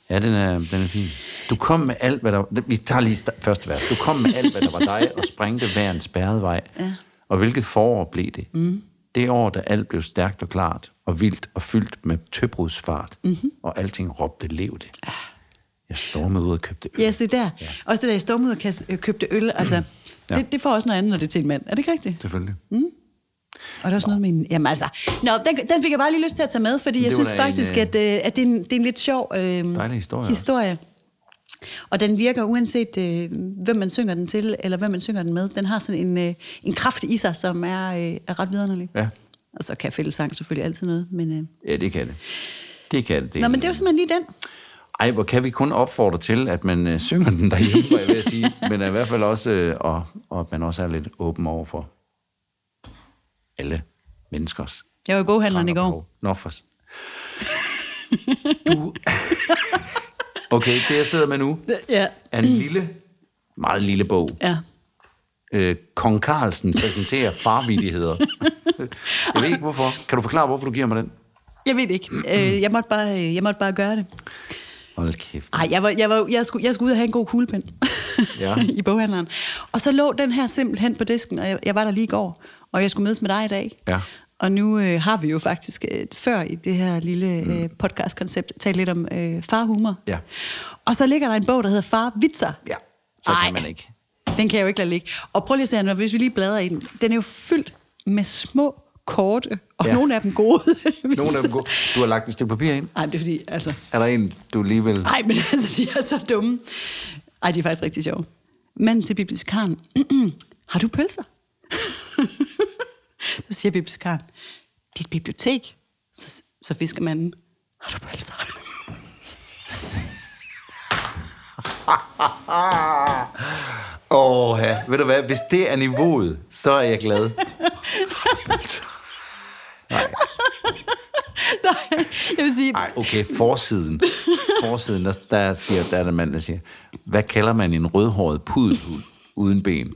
Ja, den er, den er fin. Du kom med alt, hvad der... Vi tager lige sta- første vers. Du kom med alt, hvad der var dig, og sprængte hver en spærret vej. Ja. Og hvilket forår blev det? Mm. Det år, da alt blev stærkt og klart, og vildt og fyldt med tøbrudsfart, Mhm. mm-hmm. og alting råbte lev det. Jeg stormede ud og købte øl. Ah. Ja, se der. Ja. Også det der, jeg stormede og kast- øh, købte øl. Altså, ja. det, det får også noget andet, når det er til en mand. Er det ikke rigtigt? Selvfølgelig. Og der er også noget med en... Jamen altså... Nå, den, den fik jeg bare lige lyst til at tage med, fordi jeg det var synes da en, faktisk, øh, at, øh, at det, er en, det er en lidt sjov øh, Dejlig historie historie. Og den virker uanset, øh, hvem man synger den til, eller hvem man synger den med. Den har sådan en, øh, en kraft i sig, som er, øh, er ret vidunderlig. Ja. Og så kan fællesang selvfølgelig altid noget. Men, øh. Ja, det kan det. Det kan det. Nå, men det var simpelthen lige den. Ej, hvor kan vi kun opfordre til, at man øh, synger den derhjemme, var jeg ved at sige. Men i hvert fald også, øh, og, og at man også er lidt åben over for alle menneskers Jeg var i boghandleren i Nå, går. hov. Nå, for... s- Du... Okay, det jeg sidder med nu Ja, er en lille, meget lille bog. ja. Øh, Kong Carlsen præsenterer farvidigheder. Jeg ved ikke hvorfor. Kan du forklare, hvorfor du giver mig den? Jeg ved det ikke. Øh, jeg, måtte bare, øh, jeg måtte bare gøre det. Hold kæft. Ej, jeg, var, jeg, var, jeg, skulle, jeg skulle ud og have en god kuglepen Ja. ja. [laughs] i boghandleren. Og så lå den her simpelthen på disken, og jeg, jeg var der lige i går, og jeg skulle mødes med dig i dag. Ja. Og nu øh, har vi jo faktisk øh, før i det her lille øh, podcastkoncept talt lidt om øh, farhumor. Mm. Ja. Og så ligger der en bog, der hedder Farvitser. Ja, så Ej. kan man ikke. Den kan jeg jo ikke lade ligge. Og prøv lige at se, her, hvis vi lige bladrer i den. Den er jo fyldt med små, korte, og Ja. ja. nogle af dem gode. Nogle af [laughs] dem går. Du har lagt et stykke papir ind. Nej, det er fordi, altså, Er der en, du lige vil... Nej, men [laughs] altså, de er så dumme. Ej, de er faktisk rigtig sjove. Manden til bibliotekaren. [clears throat] Har du pølser? [laughs] så siger bibliotekaren. Det er et bibliotek. Så, så fisker manden. Har du pølser? [laughs] Åh, ja. Ved du hvad? Hvis det er niveauet, så er jeg glad. Nej, jeg vil sige... Nej, okay, forsiden. Forsiden, der, der, siger, der er der en mand, der siger, hvad kalder man en rødhåret pudelhund uden ben?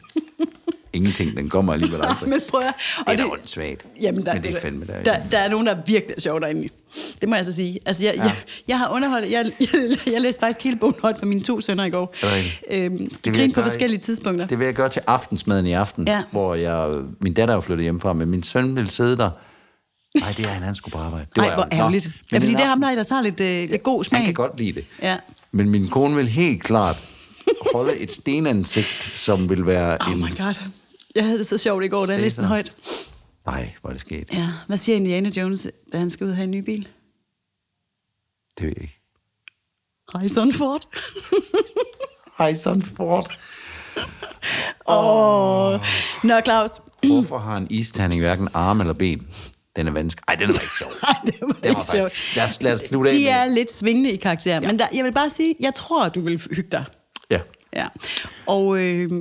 Ingenting, den kommer alligevel Nej, aldrig. men prøv at... altså, Det er da åndssvagt. Jamen, der, men det er fandme der. der, der er nogen, der er virkelig er sjov derinde. Det må jeg altså sige. Altså, jeg, ja. jeg, jeg har underholdt... Jeg, jeg, [laughs] jeg læste faktisk hele bogen højt for mine to sønner i går. Er det rigtigt? Øhm, de jeg grinede på gøre i- forskellige tidspunkter. Det vil jeg gøre til aftensmaden i aften, Ja. hvor jeg, min datter er jo flyttet hjemmefra, men min søn ville sidde der. Nej, det er han, han skulle på arbejde. Det Nej, hvor Nå, ærgerligt. men Ja, fordi den det er ham, aften- der ellers har lidt, øh, lidt god smag. Han kan godt lide det. Ja. Men min kone vil helt klart holde et stenansigt, som vil være Oh en... my god. Jeg havde det så sjovt i går, da jeg læste den Cæsar. højt. Nej, hvor er det sket. Ja. Hvad siger Indiana Jones, da han skal ud og have en ny bil? Det ved jeg ikke. Harrison Ford. [laughs] Harrison Ford. Nå, Claus. Hvorfor har en isterning hverken arme eller ben? Den er vanskelig. Ej, den er rigtig sjov. Nej, det var, Den var ikke faktisk- sjovt. Lad os- lad os slutte af De med- er lidt svingende i karakter, ja. men der, jeg vil bare sige, jeg tror, du vil hygge dig. Ja. Ja. Og øh,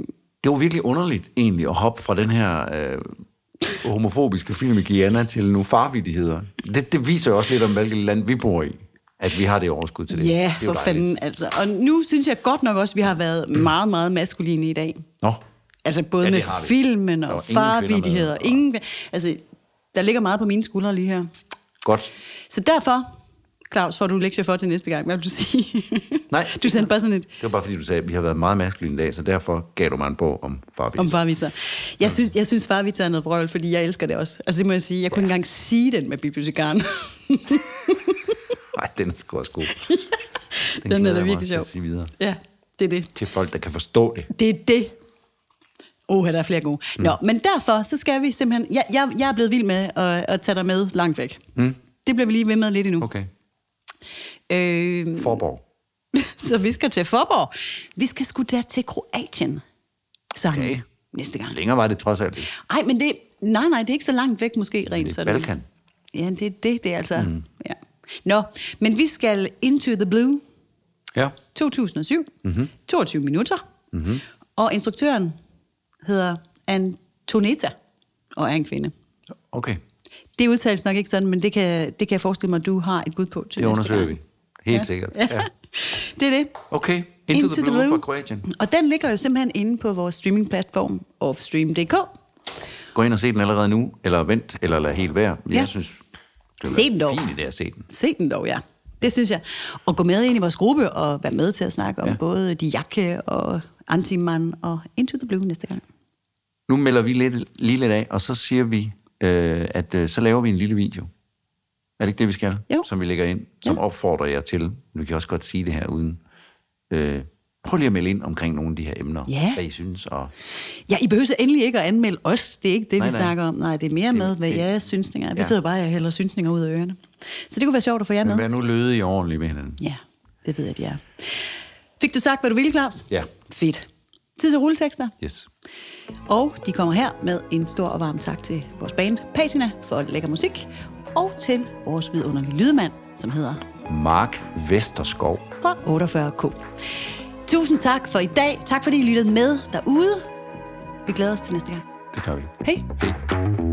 Det var virkelig underligt egentlig at hoppe fra den her øh, homofobiske film i Guyana til nogle farvidigheder. Det, det viser jo også lidt om, hvilket land vi bor i, at vi har det overskud til det. det ja, er jo for dejligt. fanden altså. Og nu synes jeg godt nok også, at vi har været meget, meget maskuline i dag. Nå, Altså både Ja, ja, det med har vi. filmen Der var og ingen kvinder med. farvidigheder. Og ingen, altså, der ligger meget på mine skuldre lige her. godt. Så derfor, Claus, får du lektier for til næste gang. Hvad vil du sige? [laughs] Nej. Du sendte bare sådan et Det var bare fordi, du sagde, at vi har været meget maskuline i dag, så derfor gav du mig en bog om farvidigheder. om farvitser. Jeg synes, jeg synes farvitser er noget vrøvl, fordi jeg elsker det også. Altså det må jeg sige. Jeg kunne ikke engang sige den med bibliotekaren. Nej, den er sgu [laughs] også god. [laughs] Den, den glæder jeg er da mig også virkelig til sjov. at sige videre. Ja, det er det. Til folk, der kan forstå det. Det er det. Åh, der er flere gode. Mm. Nå, men derfor, så skal vi simpelthen... Jeg, jeg, jeg er blevet vild med at, at tage dig med langt væk. Mm. Det bliver vi lige ved med lidt endnu. Okay. Okay. Øh, Forborg. [laughs] Så vi skal til Forborg. Vi skal sgu der til Kroatien. Sangen Okay. okay. næste gang. Længere var det trods alt. ikke. Ej, men det, nej, nej, det er ikke så langt væk måske rent er sådan. Balkan. Ja, det er det, det er altså. Mm. Ja. Nå, men vi skal Into the Blue Ja. 2007. Mhm. Mm-hmm. 22 minutter. Mm-hmm. Og instruktøren hedder Antoneta og er en kvinde. Okay. Det udtales nok ikke sådan, men det kan, det kan jeg forestille mig, at du har et bud på til Det næste undersøger gang. vi. Helt ja. [laughs] sikkert. Ja. Det er det. Okay. Into, Into the, blue fra Kroatien. Og den ligger jo simpelthen inde på vores streamingplatform offstream.dk. Gå ind og se den allerede nu, eller vent, eller lad helt være. Jeg Ja. synes, det Se den er dog. fint i det at se den. Se den dog, ja. Det synes jeg. Og gå med ind i vores gruppe og være med til at snakke om Ja. ja. både Diakke og Antiman og Into the Blue næste gang. Nu melder vi lidt, lige lidt af, og så siger vi, øh, at øh, så laver vi en lille video. Er det ikke det, vi skal? Jo. Som vi lægger ind, som Ja. opfordrer jer til. Nu kan jeg også godt sige det her uden øh, Prøv lige at melde ind omkring nogle af de her emner, Ja. hvad I synes. Og Ja, I behøver så endelig ikke at anmelde os. Det er ikke det, Nej, vi nej. snakker om. Nej, det er mere Det- med, hvad det- jeres synsninger er. Vi Ja. sidder bare og hælder synsninger ud af ørerne. Så det kunne være sjovt at få jer med. men vær nu lødige og ordentlige med hinanden. Ja, det ved jeg, de er. Fik du sagt, hvad du ville, Claus? Ja. Fedt. Tid til rulletekster. Yes. Og de kommer her med en stor og varm tak til vores band Patina for lækker musik, og til vores vidunderlige lydmand, som hedder Mark Vesterskov. fra 48K. Tusind tak for i dag. Tak fordi I lyttede med derude. Vi glæder os til næste gang. Det gør vi. Hej. Hej.